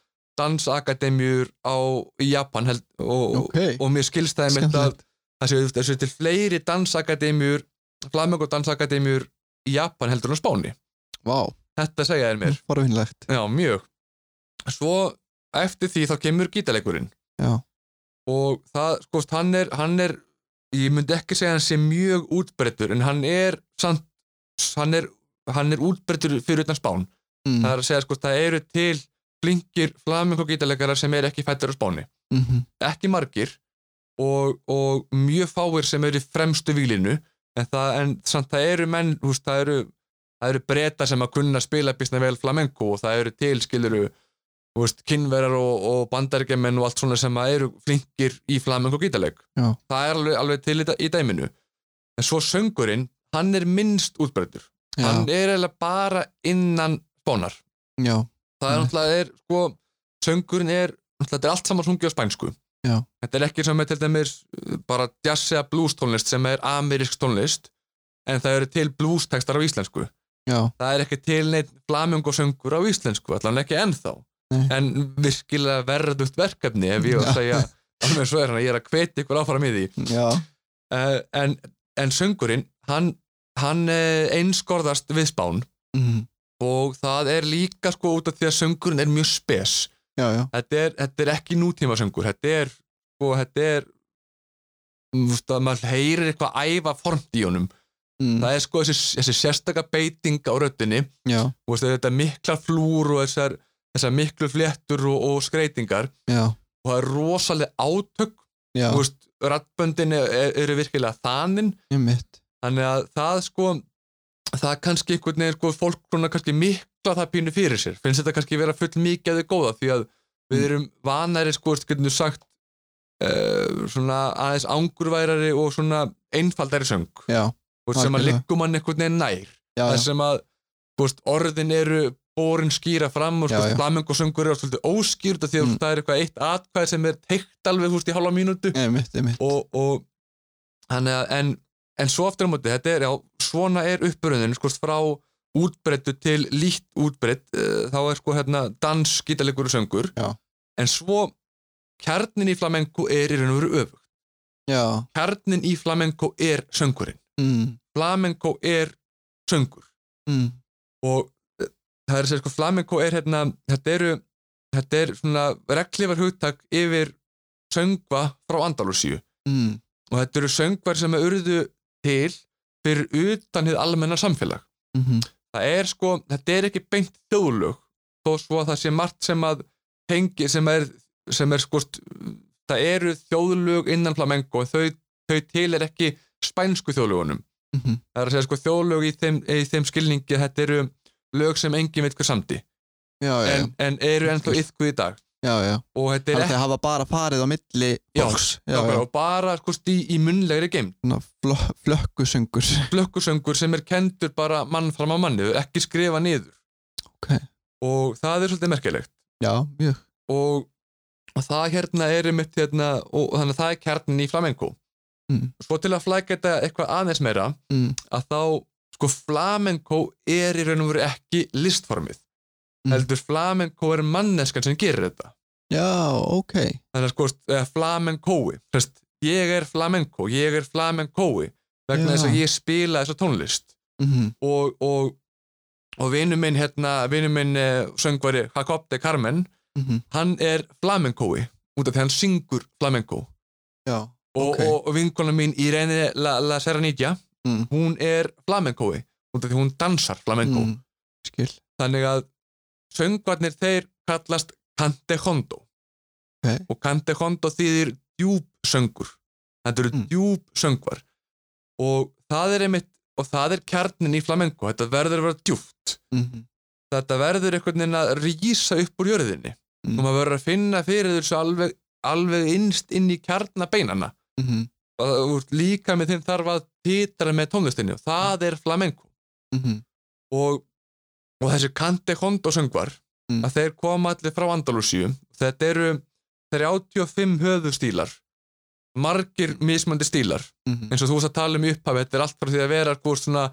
Speaker 2: dansakademjur á í Japan held, og,
Speaker 1: Ok,
Speaker 2: og mér skilst það einmitt að
Speaker 1: skemmtilegt
Speaker 2: það séu það séu til fleiri dansakademjur flamenco dansakademjur í Japan heldur en á Spáni
Speaker 1: Vá,
Speaker 2: þetta segja þér mér
Speaker 1: forvinnlegt
Speaker 2: já, mjög svo eftir því þá kemur gítalegurinn
Speaker 1: Já.
Speaker 2: og það, sko, hann er, hann er ég myndi ekki segja hann sé mjög útbreyddur en hann er samt, hann er, hann er útbreyddur fyrir utan spán
Speaker 1: mm,
Speaker 2: það er að segja, sko, það eru til flinkir flamenco gítalegarar sem er ekki fættur á spáni
Speaker 1: mhm,
Speaker 2: ekki margir og, og mjög fáir sem eru í fremstu výlinu en, það, en samt það eru menn húst, það, eru, það eru breyta sem að kunna spila býsna vel flamenco og það eru til skiluru húst, kynverar og, og bandaríkjamenn og allt svona sem að eru flinkir í flamenco gítaleg
Speaker 1: Já.
Speaker 2: það er alveg, alveg til í, dæ- í dæminu en svo söngurinn, hann er minnst útbreytur,
Speaker 1: já,
Speaker 2: hann er eiginlega bara innan spánar
Speaker 1: já,
Speaker 2: það er
Speaker 1: Einmitt.
Speaker 2: náttúrulega er, sko, söngurinn er náttúrulega þetta er allt saman sungið á spænsku
Speaker 1: Já.
Speaker 2: þetta er ekki sem er til dæmis uh, bara jazz eða blues tónlist sem er amerísk tónlist en það eru til blues textar á íslensku
Speaker 1: já,
Speaker 2: það er ekki til neitt flamingo söngur á íslensku allan ekki ennþá
Speaker 1: Nei.
Speaker 2: en virkilega verðugt verkefni ef ég á að
Speaker 1: Já.
Speaker 2: segja alveg svo er hann, ég er að hveti ykkur áfram í því
Speaker 1: já
Speaker 2: uh, en, en söngurinn, hann, hann uh, einskorðast við spán
Speaker 1: mm,
Speaker 2: og það er líka sko út af því að söngurinn er mjög spes
Speaker 1: Já, já,
Speaker 2: þetta er, þetta er ekki nútíma söngur þetta er, sko, þetta er þú veist að maður heyrir eitthvað æfa formt í honum
Speaker 1: mm,
Speaker 2: það er sko þessi, þessi sérstaka beiting á röddinni
Speaker 1: já,
Speaker 2: þú veist, þetta mikla flúr og þessar, þessar miklu fléttur og, og skreitingar
Speaker 1: já,
Speaker 2: og það er rosalega átök
Speaker 1: já,
Speaker 2: þú veist, rattböndin er- er- eru virkilega þaninn
Speaker 1: einmitt
Speaker 2: þannig að það sko það er kannski einhvern veginn sko fólk svona kannski mikla það pínu fyrir sér finnst þetta kannski vera full mikið eða góða því að við
Speaker 1: Mm.
Speaker 2: erum vanari sko getur sagt uh, svona aðeins angurværari og svona einfaldari söng
Speaker 1: Já,
Speaker 2: Þú veist, sem að
Speaker 1: algjörlega.
Speaker 2: liggum mann einhvern veginn nær
Speaker 1: já,
Speaker 2: það
Speaker 1: já,
Speaker 2: sem að þú veist, orðin eru borin skýra fram og
Speaker 1: Já, já.
Speaker 2: flamengosöngur eru svolítið óskýrt af því að
Speaker 1: Mm.
Speaker 2: mm. það er eitthvað eitt atkvæð sem er teikt alveg þú veist, í halva mínútu
Speaker 1: einmitt, einmitt
Speaker 2: og, og hann, en, en svo aftur á móti þetta er, já, svona er uppbrunnin sko, frá útbreyttu til lítt útbreytt, uh, þá er sko hérna dans, gítalegur og söngur
Speaker 1: Já.
Speaker 2: en svo kjarnin í flamenco er í raun og veru öfugt
Speaker 1: Já,
Speaker 2: kjarnin í flamenco er söngurinn
Speaker 1: mm,
Speaker 2: flamenco er söngur
Speaker 1: mm,
Speaker 2: og uh, það er að segja sko flamenco er hérna, þetta eru þetta er svona reglifar hugtak yfir söngva frá Andalusíu
Speaker 1: mm,
Speaker 2: og þetta eru söngvar sem urðu til fyrir utan hið almenna samfélag.
Speaker 1: mhm,
Speaker 2: Það er sko, þetta er ekki beint þjóðlög þó svo að það sé margt sem að tengi, sem er, sem er sko það eru þjóðlög innan flamenco en þau, þau til er ekki spænsku þjóðlögunum.
Speaker 1: mhm,
Speaker 2: Það er að segja sko þjóðlög í þeim, í þeim skilningi að þetta eru lög sem enginn veit hvað samdi
Speaker 1: já, já,
Speaker 2: en, en eru ennþá yfkuð í dag
Speaker 1: já, já
Speaker 2: og þetta er
Speaker 1: Þannig
Speaker 2: ekki
Speaker 1: að hafa bara farið á milli
Speaker 2: Já,
Speaker 1: fólks Já, já,
Speaker 2: og bara sko í, í munlegri geim
Speaker 1: svona flö- flökkusöngur
Speaker 2: flökkusöngur sem er kendur bara mann fram á manni, ekki skrifa niður
Speaker 1: Ok.
Speaker 2: og það er svolítið merkilegt
Speaker 1: Já, mjög
Speaker 2: og, og það hérna er mitt hérna, og og þannig að það er kjarnin í flamenco
Speaker 1: Mm.
Speaker 2: svo til að flækja þetta eitthvað aðeins meira
Speaker 1: mm,
Speaker 2: að þá, sko flamenco er í raun og veru ekki listformið
Speaker 1: Mm.
Speaker 2: heldur flamenco er manneskan sem gerir þetta
Speaker 1: Já, ok
Speaker 2: þannig að sko, eða flamencoi Þess, ég er flamenco, ég er flamencoi vegna
Speaker 1: Já.
Speaker 2: þess að ég spila þessa tónlist
Speaker 1: mhm,
Speaker 2: og, og, og vinnu minn hérna, vinnu minn eh, söngvari Jacob de Carmen,
Speaker 1: mhm,
Speaker 2: hann er flamencoi, út af því hann syngur flamenco
Speaker 1: Já,
Speaker 2: og,
Speaker 1: Ok.
Speaker 2: og, og vinkona mín Irene La, La Serranilla,
Speaker 1: Mm.
Speaker 2: hún er flamencoi, út af því hún dansar flamenco,
Speaker 1: mm, skil
Speaker 2: þannig að söngvarnir þeir kallast cantejondo
Speaker 1: Ok.
Speaker 2: og cantejondo þýðir djúb söngur þetta eru
Speaker 1: Mm.
Speaker 2: djúb söngvar og það er einmitt og það er kjarnin í flamenco, þetta verður að vera djúpt
Speaker 1: Mhm.
Speaker 2: þetta verður einhvern veginn að rísa upp úr jörðinni
Speaker 1: Mm.
Speaker 2: og maður verður að finna fyrir þessu alveg, alveg innst inn í kjarnabeinana
Speaker 1: Mhm.
Speaker 2: og það- og líka með þeim þarf að titra með tónlistinni og það
Speaker 1: Mm.
Speaker 2: er flamenco
Speaker 1: Mhm.
Speaker 2: og, og þessi Kante Hondo söngvar
Speaker 1: Mm.
Speaker 2: að þeir koma allir frá Andalusíu þetta eru 35 höfustílar margir mismandi stílar
Speaker 1: Mhm.
Speaker 2: eins og þú veist að tala um í upphafi þetta er allt frá því að vera hvort svona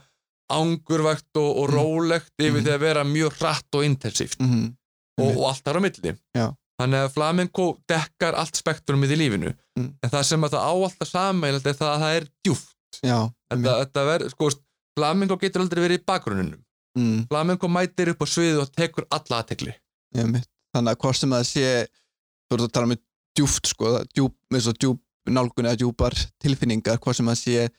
Speaker 2: angurvægt og, og
Speaker 1: Mm.
Speaker 2: rólegt yfir
Speaker 1: Mhm.
Speaker 2: því að vera mjög hratt og intensíft
Speaker 1: Mhm.
Speaker 2: og, og allt þar á milli
Speaker 1: Já.
Speaker 2: þannig að flamenco dekkar allt spektrumið í lífinu
Speaker 1: Mm.
Speaker 2: en það sem að það á alltaf sammeinlega er það að það er djúft
Speaker 1: Já,
Speaker 2: þetta, þetta verður, sko, flamenco getur aldrei verið í bakgrunninum
Speaker 1: mm,
Speaker 2: flamenco mætir upp á sviðu og tekur alla aðtekli
Speaker 1: ég mitt. Þannig að hvort sem það sé, þú ert að tala með djúft, sko, það- djúp, með svo djúp nálgun eða djúpar tilfinningar, hvort sem það sé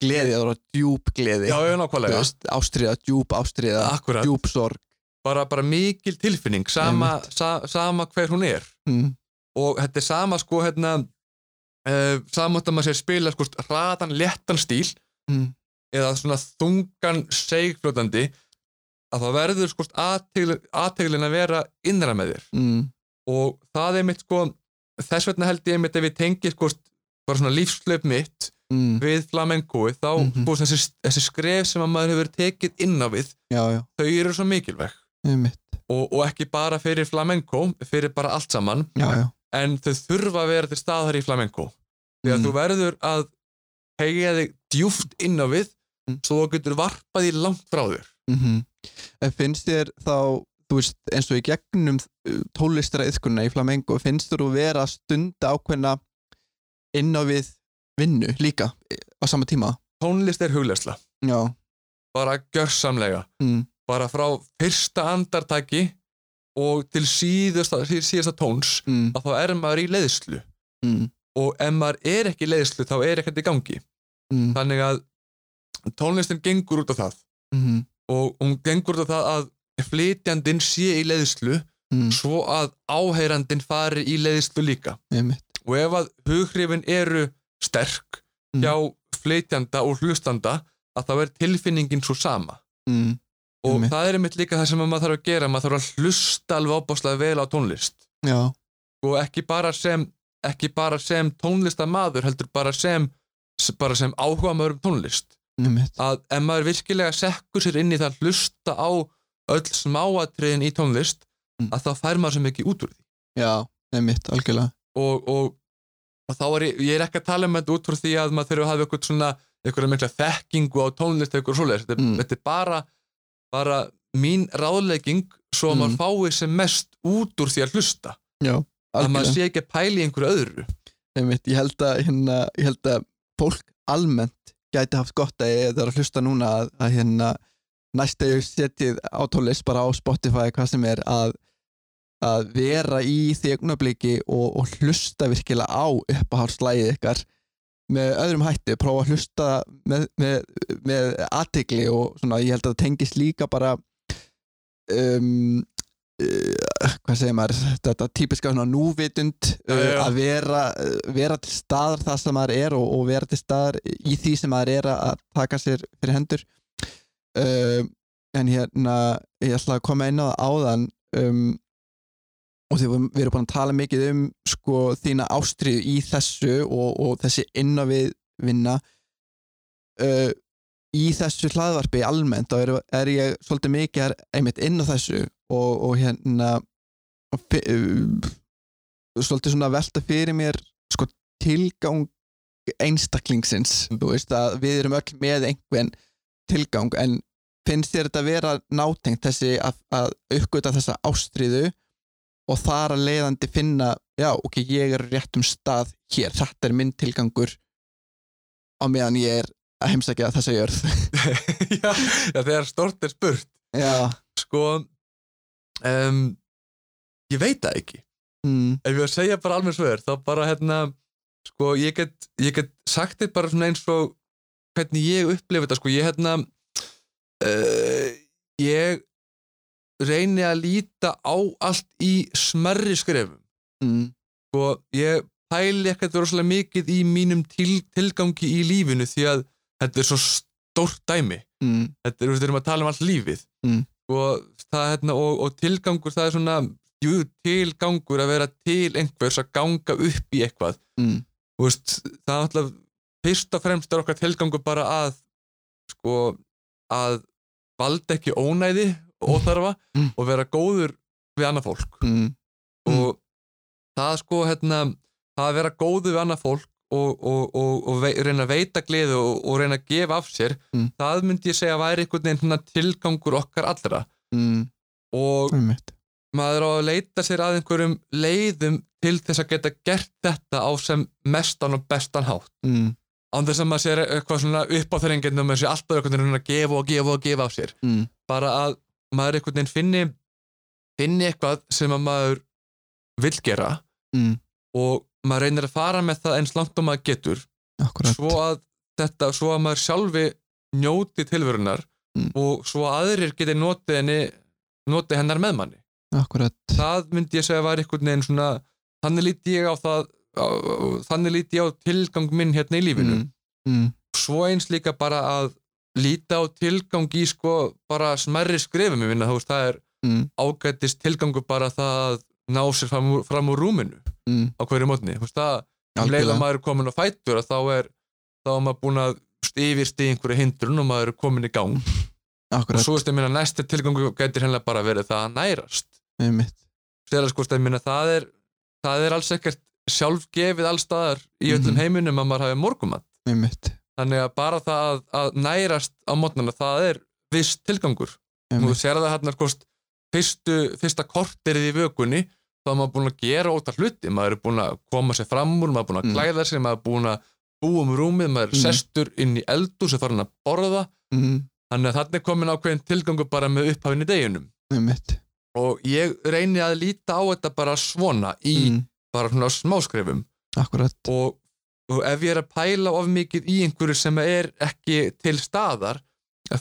Speaker 1: gleði, það voru djúp gleði,
Speaker 2: já, já,
Speaker 1: þú
Speaker 2: nákvæmlega,
Speaker 1: veist, ástriða, djúp ástriða,
Speaker 2: akkurat
Speaker 1: djúp sorg.
Speaker 2: bara, bara mikil tilfinning, sama, sa, sama hver hún er
Speaker 1: Mm,
Speaker 2: og þetta er sama, sko, hérna uh, samátt að maður sé að spila, sko, hraðan, léttan stíl
Speaker 1: mm,
Speaker 2: eða svona þungan segfljótandi að það verður, sko, aðteglin að vera innra með þér
Speaker 1: mm,
Speaker 2: og það er mitt, sko þess vegna held ég mitt ef ég tengi, sko bara svona lífslaup mitt
Speaker 1: mm,
Speaker 2: við flamenkoi þá
Speaker 1: Mhm.
Speaker 2: sko, þessi, þessi skref sem að maður hefur tekið inn á við
Speaker 1: já, já,
Speaker 2: þau eru svo mikilvæg
Speaker 1: ég mitt.
Speaker 2: og, og ekki bara fyrir flamenco fyrir bara allt saman
Speaker 1: Já, já.
Speaker 2: en þau þurfa að vera til staðar í flamenco því að
Speaker 1: Mm.
Speaker 2: þú verður að hegja þig djúft inn á við
Speaker 1: Mm.
Speaker 2: svo þú getur varpað því langt frá þér
Speaker 1: Mm En finnst þér þá, þú veist, eins og í gegnum tólistara yðkunna í Flamengo, finnst þér þú vera að stunda ákveðna inn á við vinnu líka eh, á sama tíma?
Speaker 2: tónlist er huglegsla,
Speaker 1: Já.
Speaker 2: bara gjörsamlega
Speaker 1: Mm.
Speaker 2: bara frá fyrsta andartaki og til síðasta, síðasta tóns
Speaker 1: Mm,
Speaker 2: að þá er maður í leiðslu
Speaker 1: mm,
Speaker 2: og ef maður er ekki í leiðslu þá er ekkert í gangi
Speaker 1: mm,
Speaker 2: þannig að tónlistin gengur út á það
Speaker 1: mm,
Speaker 2: og hún gengur út á það að flytjandinn sé í leiðslu
Speaker 1: mm,
Speaker 2: svo að áheyrandinn fari í leiðslu líka
Speaker 1: einmitt.
Speaker 2: og ef að hughrifin eru sterk
Speaker 1: Mm.
Speaker 2: hjá flytjanda og hlustanda að þá er tilfinningin svo sama
Speaker 1: Mm,
Speaker 2: og
Speaker 1: Einmitt.
Speaker 2: það er einmitt líka það sem að maður þarf að gera maður þarf að hlusta alveg ábáslega vel á tónlist
Speaker 1: já,
Speaker 2: og ekki bara sem ekki bara sem tónlistamaður heldur bara sem bara sem áhuga maður um tónlist
Speaker 1: einmitt.
Speaker 2: að ef maður virkilega sekkur sér inn í það að hlusta á öll smáatriðin í tónlist
Speaker 1: Mm.
Speaker 2: að þá fær maður sem ekki út úr því
Speaker 1: Já, einmitt, algjörlega.
Speaker 2: og, og, og þá er ég, ég er ekki að tala um þetta út frá því að maður þurfi að hafa eitthvað svona eitthvað mikla þekkingu á tónlist eitthvað svoleiðis, þetta,
Speaker 1: Mm.
Speaker 2: mm. þetta er bara bara mín ráðlegging svo að
Speaker 1: Mm.
Speaker 2: maður fái sem mest út úr því að hlusta að maður
Speaker 1: algjörlega.
Speaker 2: sé ekki að pæla í einhverju öðru
Speaker 1: Einmitt, ég held að, hérna, ég held að fólk almennt gæti haft gott að ég þarf að hlusta núna að, að hérna, næst að ég setjið á tólist bara á Spotify hvað sem er að, að vera í því augnabliki og, og hlusta virkilega á uppahálslægið ykkar með öðrum hætti, prófa að hlusta með, með, með aðtikli og svona, ég held að það tengist líka bara um, uh, hvað segir maður þetta típiska svona núvitund
Speaker 2: Já, já, já.
Speaker 1: uh, að vera, uh, vera til staðar það sem maður er og, og vera til staðar í því sem maður er að taka sér fyrir hendur um, en hérna ég ætla að koma inn á það áðan um, og því við við erum búin að tala mikið um sko þína ástriðu í þessu og, og þessi inn á við vinna uh, í þessu hlaðvarpi almennt þá er, er ég svolítið mikið er, einmitt inn á þessu og, og hérna og, fi- uh, svolítið svona að velta fyrir mér sko tilgang einstaklingsins þú veist að við erum öll með einhvern tilgang en finnst þér þetta vera nátengt þessi að, að uppgöta þessa ástriðu og þar að leiðandi finna já, ok, ég er á réttum stað hér, þetta er minn tilgangur á meðan ég er að heimsækja þessa jörð
Speaker 2: já, já, þegar stort er spurt
Speaker 1: já,
Speaker 2: sko um, ég veit það ekki
Speaker 1: mm,
Speaker 2: ef ég var að segja bara alveg svör þá bara hérna sko ég get, ég get sagt þér bara svona eins og hvernig ég upplifa þetta sko ég hérna uh, ég reyni að líta á allt í smerri skrefum
Speaker 1: mm,
Speaker 2: sko ég pæli ekkert rosalega mikið í mínum til, tilgangi í lífinu því að þetta er svo stórt dæmi
Speaker 1: mm,
Speaker 2: þetta er, þú veist, við erum að tala um allt lífið
Speaker 1: Mm.
Speaker 2: og, það, hérna, og, og tilgangur það er svona, jú, tilgangur að vera til einhvers að ganga upp í eitthvað,
Speaker 1: mm,
Speaker 2: þú veist það er alltaf, fyrst og fremst er okkar tilgangur bara að sko, að valda ekki ónæði, óþarfa
Speaker 1: Mm.
Speaker 2: og vera góður við annað fólk
Speaker 1: mm, Mm.
Speaker 2: og það sko hérna það að vera góðu við annað fólk og, og, og, og vei, reyna að veita gleði og, og reyna að gefa af sér
Speaker 1: Mm.
Speaker 2: það myndi ég segja að væri einhvern veginn svona tilgangur okkar allra
Speaker 1: mm,
Speaker 2: og
Speaker 1: einmitt.
Speaker 2: maður á að leita sér að einhverjum leiðum til þess að geta gert þetta á sem mestan og bestan hátt
Speaker 1: mm,
Speaker 2: án þess að maður sér eitthvað svona upp á þrengjandi og maður sé alltaf einhvern veginn að gefa og gefa og gefa af sér
Speaker 1: mm,
Speaker 2: bara að maður einhvern veginn finni finni eitthvað sem að maður vill gera
Speaker 1: mm,
Speaker 2: og maður reynir að fara með það eins langt og maður getur
Speaker 1: akkurat
Speaker 2: svo að þetta, svo að maður sjálfi njóti tilverunar
Speaker 1: Mm.
Speaker 2: og svo að aðrir geti notið henni notið hennar með manni
Speaker 1: akkurat
Speaker 2: það myndi ég segja var einhvern veginn svona þannig líti ég á það á, á- þannig líti ég á tilgang minn hérna í lífinu
Speaker 1: mm, mm,
Speaker 2: svo eins líka bara að líta á tilgang í sko bara smerri skrifum ég minna þú veist það er
Speaker 1: mm,
Speaker 2: ágættist tilgangur bara það að ná sér fram úr, fram úr rúminu
Speaker 1: mm,
Speaker 2: á hverju mótni, þú veist það um leið
Speaker 1: algjörlega
Speaker 2: að maður er komin á fætur að þá er þá er maður búin að yfirsti einhverju hindrun og maður er komin í gang og
Speaker 1: akkurat
Speaker 2: svo veist ég minna næsti tilgangu getur hennilega bara verið það að nærast
Speaker 1: einmitt
Speaker 2: þegar sko veist, ég minna það er það er alls ekkert sjálfgefið allstaðar í öllum
Speaker 1: Mhm.
Speaker 2: heiminum að maður hafi morgumat
Speaker 1: einmitt
Speaker 2: þannig að bara það að, að nærast á mótnana það er viss tilgangur og þú
Speaker 1: einmitt
Speaker 2: sér það hérna sko fyrstu, fyrsta korterið í vökunni þá er maður búin að gera ótaf hluti maður er búin að koma sér fram úr, maður er búin að
Speaker 1: Mm.
Speaker 2: klæða sér maður er búin að búa um rúmið maður er
Speaker 1: Mm.
Speaker 2: sestur inn í eldu sem farin að borða
Speaker 1: mm,
Speaker 2: þannig að þarna er komin ákveðin tilgangur bara með upphafinn í deginum
Speaker 1: einmitt
Speaker 2: og ég reyni að líta á þetta bara svona í
Speaker 1: mm,
Speaker 2: bara svona smáskrefum
Speaker 1: akkurat
Speaker 2: og, og ef ég er að pæla of mikið í einhverju sem er ekki til staðar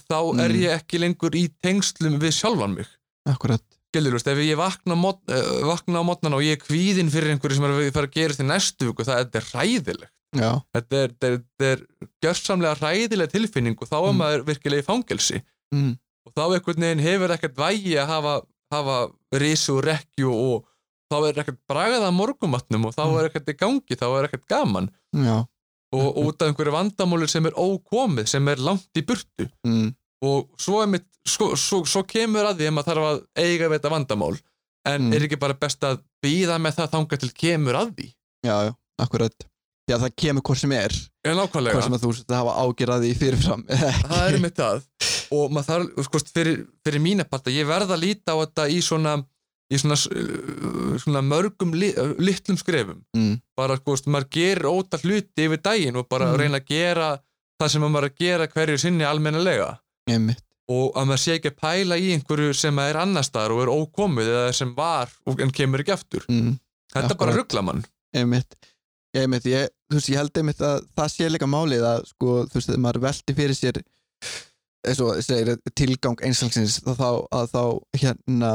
Speaker 2: þá er
Speaker 1: Mm.
Speaker 2: ég ekki lengur í tengslum við sjálfan mig
Speaker 1: akkurat
Speaker 2: skilur, þú veist, ef ég vakna, mót, uh, vakna á mótnana og ég er kvíðinn fyrir einhverju sem er að fara að gerast í næstu viku, það þetta er ræðilegt.
Speaker 1: já
Speaker 2: Þetta er, þetta er, þetta er gjörsamlega ræðileg tilfinning og þá er
Speaker 1: Mm.
Speaker 2: maður virkilega í fangelsi
Speaker 1: mm,
Speaker 2: og þá einhvern veginn hefur ekkert vægi að hafa, hafa risu og rekju og þá er ekkert bragað að morgumatnum og þá
Speaker 1: Mm.
Speaker 2: er ekkert í gangi, þá er ekkert gaman
Speaker 1: já
Speaker 2: og, og út af einhverju vandamóli sem er ókomið, sem er langt í burtu
Speaker 1: mm,
Speaker 2: og svo, einmitt, svo, svo, svo kemur að því að maður þarf að eiga við þetta vandamál en
Speaker 1: Mm.
Speaker 2: er ekki bara best að býða með það þangað til kemur að því
Speaker 1: já já akkurat já það kemur hvort sem er
Speaker 2: en
Speaker 1: hvort
Speaker 2: nákvæmlega,
Speaker 1: sem að þú sért að hafa ágjörði í fyrirfram eða ekki.
Speaker 2: það er mitt að og maður þarf, sko, fyrir, fyrir mína parta ég verð að líta á þetta í svona í svona, uh, svona mörgum li, uh, litlum skrefum
Speaker 1: mm,
Speaker 2: bara, sko, veist, maður gerir óta hluti yfir daginn og bara
Speaker 1: Mm.
Speaker 2: reyna að gera það sem maður er að gera hverju sinni almennilega
Speaker 1: einmitt
Speaker 2: og að maður sé ekki að pæla í einhverju sem er annar staðar og er ókomið eða sem var og en kemur ekki aftur
Speaker 1: mm.
Speaker 2: þetta bara
Speaker 1: Akkurat.
Speaker 2: ruggla mann
Speaker 1: einmitt, Já, einmitt ég, þú veist, ég held einmitt að það sé líka málið að sko, þú veist, þegar maður velti fyrir sér eins og segir tilgang einslagsins þá, þá, að þá hérna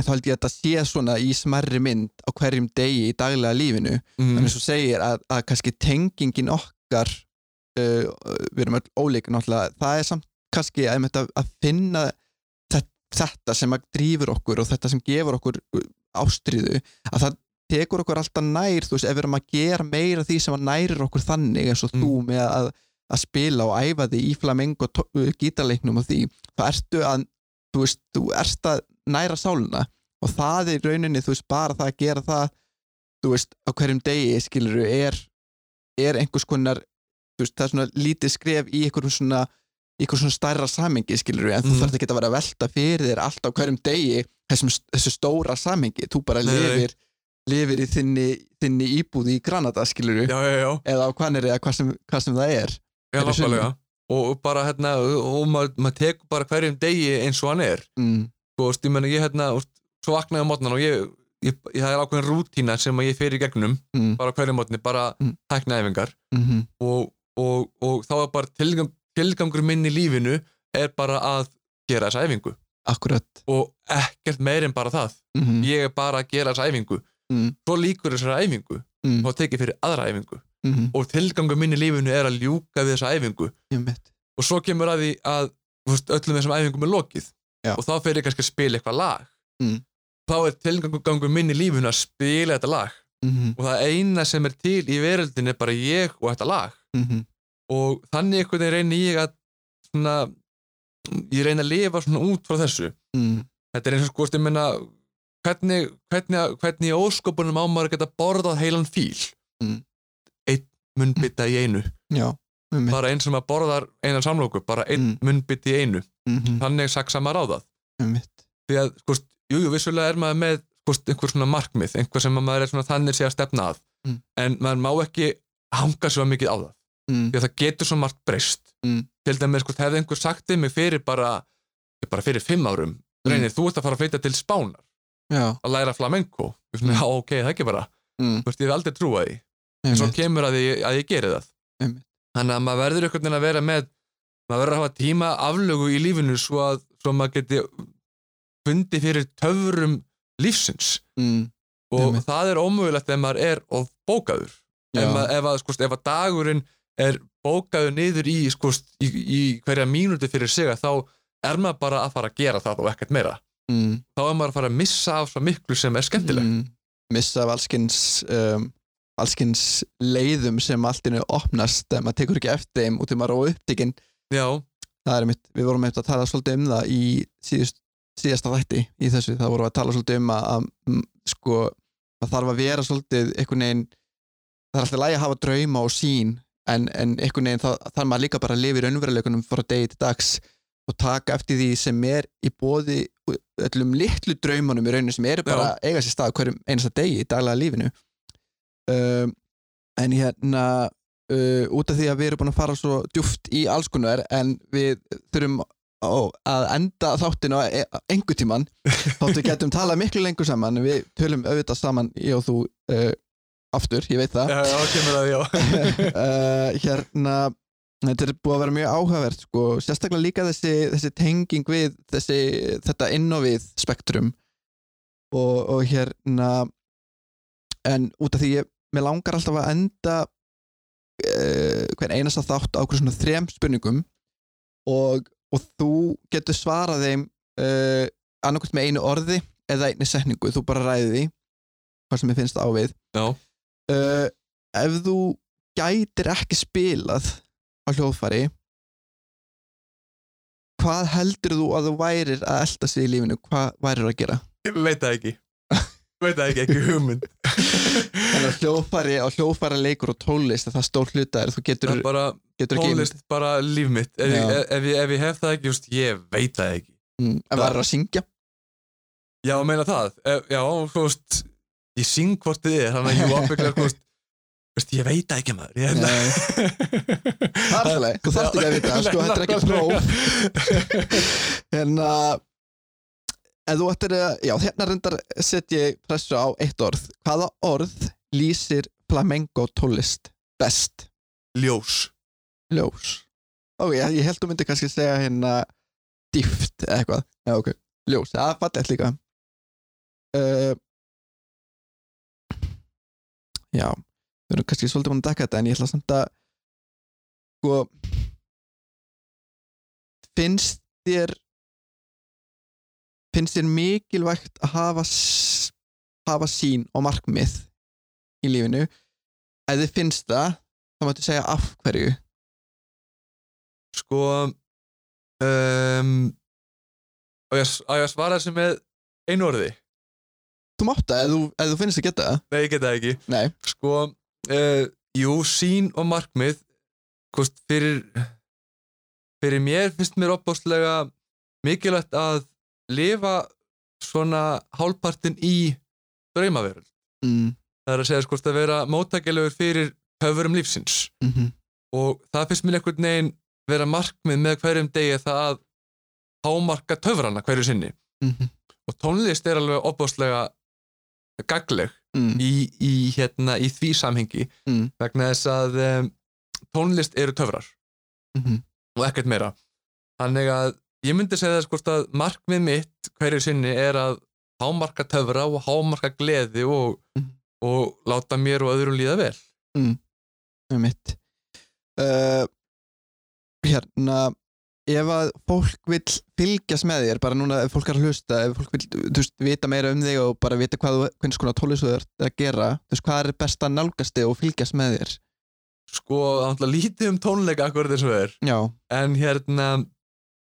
Speaker 1: þá held ég að það sé svona í smerri mynd á hverjum degi í daglega lífinu en
Speaker 2: mm.
Speaker 1: eins og segir að, að kannski tengingin okkar uh, við erum öll ólík náttúrulega það er samt kannski að, einmitt að, að finna þet- þetta sem að drífur okkur og þetta sem gefur okkur uh, ástríðu að það tekur okkur alltaf nær þú veist, ef við erum að gera meira af því sem að nærir okkur þannig eins og
Speaker 2: Mm.
Speaker 1: þú með að, að spila og æfa því í flamengo tó- uh, gítarleiknum og því þá ertu að, þú veist, þú ert að næra sáluna og það er í rauninni, þú veist, bara það að gera það þú veist, á hverjum degi skilur er, er einhvers konar þú veist, það er svona lítið skref í einhverjum svona, í einhverjum svona stærra samingi skilur en þú
Speaker 2: Mhm.
Speaker 1: mm. þarf ekki að vera að velta fyrir þér allt á hverjum degi þessum, þessu stóra samingi, þú bara
Speaker 2: Nei, nei.
Speaker 1: lifir lifir í þinni, þinni íbúð í Granada skilur
Speaker 2: já, já, já,
Speaker 1: eða á hvaðnir eða hvað sem, hvað sem það er
Speaker 2: já
Speaker 1: Fyrir
Speaker 2: nákvæmlega og og bara hérna, og maður mað tekur bara hverjum degi eins og hann er
Speaker 1: mm,
Speaker 2: og veist, ég menna, ég hérna, úst, svo vaknaði á mótnan og ég, ég, ég, það er ákveðin rútína sem að ég fer í gegnum,
Speaker 1: mm,
Speaker 2: bara á hverjum mótni bara
Speaker 1: Mm.
Speaker 2: tæknaæfingar
Speaker 1: mm
Speaker 2: og, og, og þá er bara tilgang, tilgangur minn í lífinu er bara að gera þessa æfingu
Speaker 1: akkurat
Speaker 2: og ekkert meir en bara það
Speaker 1: mm
Speaker 2: ég er bara að gera þessa æfingu
Speaker 1: Mm.
Speaker 2: svo líkur þessari æfingu
Speaker 1: Mm.
Speaker 2: og þá tekið fyrir aðra æfingu
Speaker 1: Mm.
Speaker 2: og tilgangu minni í lífinu er að ljúka við þessa æfingu
Speaker 1: Einmitt.
Speaker 2: og svo kemur að því að þú veist, öllum þessum æfingum er lokið
Speaker 1: Já.
Speaker 2: og þá fer ég kannski að spila eitthvað lag
Speaker 1: Mm.
Speaker 2: þá er tilgangu minn í lífinu að spila þetta lag
Speaker 1: Mhm.
Speaker 2: og það eina sem er til í veröldin er bara ég og þetta lag
Speaker 1: Mhm.
Speaker 2: og þannig einhvern veginn reyni ég að svona, ég reyni að lifa svona út frá þessu
Speaker 1: Mm.
Speaker 2: þetta er eins og sko, ég meina hvernig, hvernig, hvernig í ósköpunum á maður að geta borðað heilan fíl
Speaker 1: Mm.
Speaker 2: einn munnbytta í einu
Speaker 1: Já, einmitt.
Speaker 2: bara eins og maður borðar einan samlóku bara einn
Speaker 1: Mm.
Speaker 2: mm. munnbytti í einu
Speaker 1: Mhm.
Speaker 2: þannig saksa maður á það
Speaker 1: Einmitt.
Speaker 2: því að, sko, jú, jú, vissulega er maður með sko, einhver svona markmið, einhver sem maður er svona þannig sé að stefna að,
Speaker 1: Mm.
Speaker 2: en maður má ekki hanga svo mikið á það
Speaker 1: Mm.
Speaker 2: því að það getur svo margt breyst
Speaker 1: Mm.
Speaker 2: til dæmis, sko, hefði einhver sagt þið mig fyrir bara, bara fyrir fimm árum
Speaker 1: Mm.
Speaker 2: reynir, þú ert að fara að flytja til Spánar
Speaker 1: mhm. Já,
Speaker 2: að læra flamenco, Ég svona, já, ok, það er ekki bara
Speaker 1: Mm.
Speaker 2: þú veist, ég hef aldrei trúa því, en svo
Speaker 1: einmitt.
Speaker 2: kemur að ég, að ég geri það
Speaker 1: Einmitt.
Speaker 2: þannig að maður verður einhvern veginn að vera með maður verður að hafa tíma aflögu í lífinu svo að svo maður geti fundi fyrir töfrum lífsins
Speaker 1: Mm.
Speaker 2: og
Speaker 1: Einmitt.
Speaker 2: það er ómögulegt ef maður er of bókaður
Speaker 1: Já.
Speaker 2: ef, að, ef, að, skúst, ef að dagurinn er bókaður niður í, skúst, í, í hverja mínúti fyrir sig að þá er maður bara að fara að gera það og ekkert meira
Speaker 1: Mm.
Speaker 2: þá er maður að fara að missa af svo miklu sem er skemmtilegt
Speaker 1: mm, missa af allskins um, allskins leiðum sem allt innu opnast þegar maður tekur ekki eftir þeim og þegar maður er óupptikinn
Speaker 2: já,
Speaker 1: það er mitt, við vorum eftir að tala svolítið um það í síðust, síðasta þætti í þessu, það vorum við að tala svolítið um að, að mm, sko, það þarf að vera svolítið einhvern veginn það er alltaf lægi að hafa drauma og sín en, en einhvern veginn það, þarf maður líka bara að lifa í raunveruleikunum frá degi til dags og taka eftir því sem er í bóði öllum litlu draumunum í rauninu sem eru bara að eiga sér stað á hverjum einasta degi í daglega lífinu um, en hérna uh, út af því að við erum búin að fara svo djúft í alls konar en við þurfum ó, að enda þáttin á e- engu tíman þótt við getum talað miklu lengur saman en við tölum auðvitað saman ég og þú uh, aftur, ég veit það
Speaker 2: já, já, kemur að því, já
Speaker 1: uh, hérna þetta er búið að vera mjög áhugavert sko. sérstaklega líka þessi, þessi tenging við þessi, þetta inn og við spektrum og, og hérna en út af því ég, mér langar alltaf að enda uh, hvern einasta þátt á hverju svona þrem spurningum og, og þú getur svarað þeim uh, annarkvæmt með einu orði eða einu setningu, þú bara ræði því hvað sem ég finnst á við
Speaker 2: Já.
Speaker 1: uh, ef þú gætir ekki spilað á hljóðfari hvað heldur þú að þú værir að elda sig í lífinu, hvað værir að gera
Speaker 2: Ég veit það ekki veit það ekki, ekki hugmynd
Speaker 1: þannig að hljóðfari og hljóðfara leikur og tónlist það er stór hlutaður, þú getur,
Speaker 2: það er bara
Speaker 1: getur ekki
Speaker 2: tónlist bara líf mitt ef, ég,
Speaker 1: Já.
Speaker 2: ef, ef, ég, ef ég hef það ekki, just, ég veit það ekki
Speaker 1: mm, en værir að syngja
Speaker 2: já, ég meina það ef, já, þú veist, ég syng hvort þið er þannig að ég ábygglega, þú veist þú veist, ég veit það ekki maður ég,
Speaker 1: Nei. Það er alltaf leið, þú þarft ekki að vita, sko, þetta er ekki próf En að þú ættir að, já, hérna reyndar setja ég pressu á eitt orð Hvaða orð lýsir flamenco tólist best?
Speaker 2: ljós
Speaker 1: Ljós Ó, ég, ég held þú myndi kannski segja hérna dýft eða eitthvað Já, ok, ljós, það er fallegt líka uh, Já, við erum kannski svolítið búin að dekka þetta en ég ætla samt að sko finnst þér finnst þér mikilvægt að hafa s- hafa sín og markmið í lífinu ef þið finnst það þá máttu segja af hverju
Speaker 2: sko um, á, ég, á ég að svara þessu með einu orði
Speaker 1: Þú mátt það, ef þú, ef þú finnst að geta það
Speaker 2: nei, ég get það ekki
Speaker 1: Nei,
Speaker 2: sko, uh, jú, sín og markmið kost, fyrir fyrir mér finnst mér opbáslega mikilvægt að lifa svona hálpartin í draumaveröld
Speaker 1: mm.
Speaker 2: það er að segja sko að vera móttækilegur fyrir höfurum lífsins
Speaker 1: Mm -hmm.
Speaker 2: og það finnst mér einhvern veginn vera markmið með hverjum degi það að hámarka töfrana hverju sinni
Speaker 1: Mm -hmm.
Speaker 2: og tónlist er alveg opbáslega gagleg
Speaker 1: Mm.
Speaker 2: í, í, hérna, í því samhengi
Speaker 1: Mm.
Speaker 2: vegna þess að um, tónlist eru töfrar
Speaker 1: Mhm.
Speaker 2: og ekkert meira þannig að ég myndi segja þess hvort að markmið mitt hverju sinni er að hámarka töfra og hámarka gleði og,
Speaker 1: Mhm.
Speaker 2: og láta mér og öðrum líða vel
Speaker 1: um mitt uh, hérna ef að fólk vill fylgjast með þér bara núna ef fólk er að hlusta ef fólk vill, þú veist, vita meira um þig og bara vita hvað, þú- hvers konar tólis þú ert að gera þú veist, hvað er best að nálgast þig og fylgjast með þér
Speaker 2: sko, alltaf lítið um tónleika akkur þessu er
Speaker 1: já,
Speaker 2: en hérna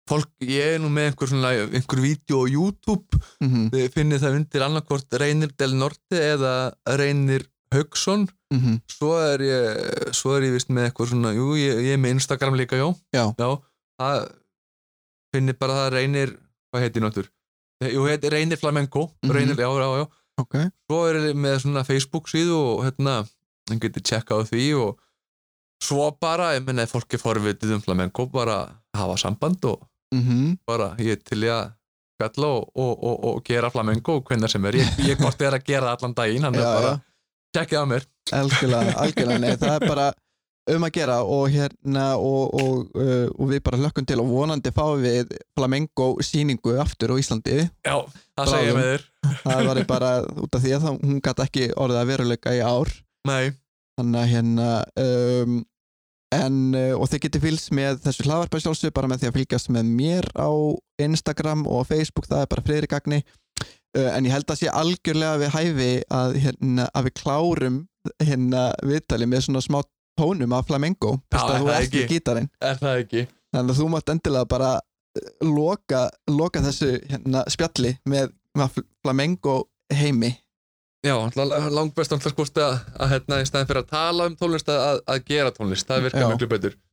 Speaker 2: fólk, ég er nú með einhver svona einhver vídeo á YouTube
Speaker 1: mm -hmm,
Speaker 2: þið finnið það undir annarkvort Reynir Del Norte eða Reynir Haugsson
Speaker 1: mm -hmm,
Speaker 2: svo er ég svo er ég vist með eitthvað svona, jú, ég, ég er með Instagram líka, já
Speaker 1: já,
Speaker 2: já, það finnir bara það reynir hvað heitir náttur? Jú, heitir reynir flamenco,
Speaker 1: Mhm.
Speaker 2: reynir, já, já, já
Speaker 1: ok
Speaker 2: svo er ég með svona Facebook síðu og hérna, hann getur tjekkað á því og svo bara, ég menna ef fólk er forvitið um flamenco, bara hafa samband og
Speaker 1: mm
Speaker 2: bara ég er til í að skalla og, og, og, og gera flamenco hvenna sem er, ég, ég hvort er að gera allan daginn, hann er
Speaker 1: Já,
Speaker 2: bara, tjekkið á mér
Speaker 1: algjörlega, algjörlega nei, það er bara um að gera og hérna og, og, uh, og við bara hlökkum til og vonandi fáum við flamengo síningu aftur á Íslandi
Speaker 2: já, það segja
Speaker 1: Bráðum.
Speaker 2: með þér
Speaker 1: það var ég bara út af því að það, hún gæti ekki orðið að veruleika í ár
Speaker 2: nei,
Speaker 1: þannig að hérna um, en, uh, og þið getið fylgst með þessu hlaðvarpæsjálsu bara með því að fylgjast með mér á Instagram og á Facebook, það er bara friðrikagni uh, en ég held að sé algjörlega við hæfi að, hérna, að við klárum hérna viðtalið með svona smá tónum af flamengo
Speaker 2: Já,
Speaker 1: fyrst
Speaker 2: er
Speaker 1: að þú
Speaker 2: það
Speaker 1: ert í
Speaker 2: ekki?
Speaker 1: gítarinn
Speaker 2: er það ekki
Speaker 1: þannig að þú mátt endilega bara uh, loka, loka þessu hérna, spjalli með, með flamengo heimi
Speaker 2: Já, náttúrulega langbest alltaf skúst að, að hérna, í staðin fyrir að tala um tónlist að, að, að gera tónlist, það virkar
Speaker 1: Já.
Speaker 2: miklu betur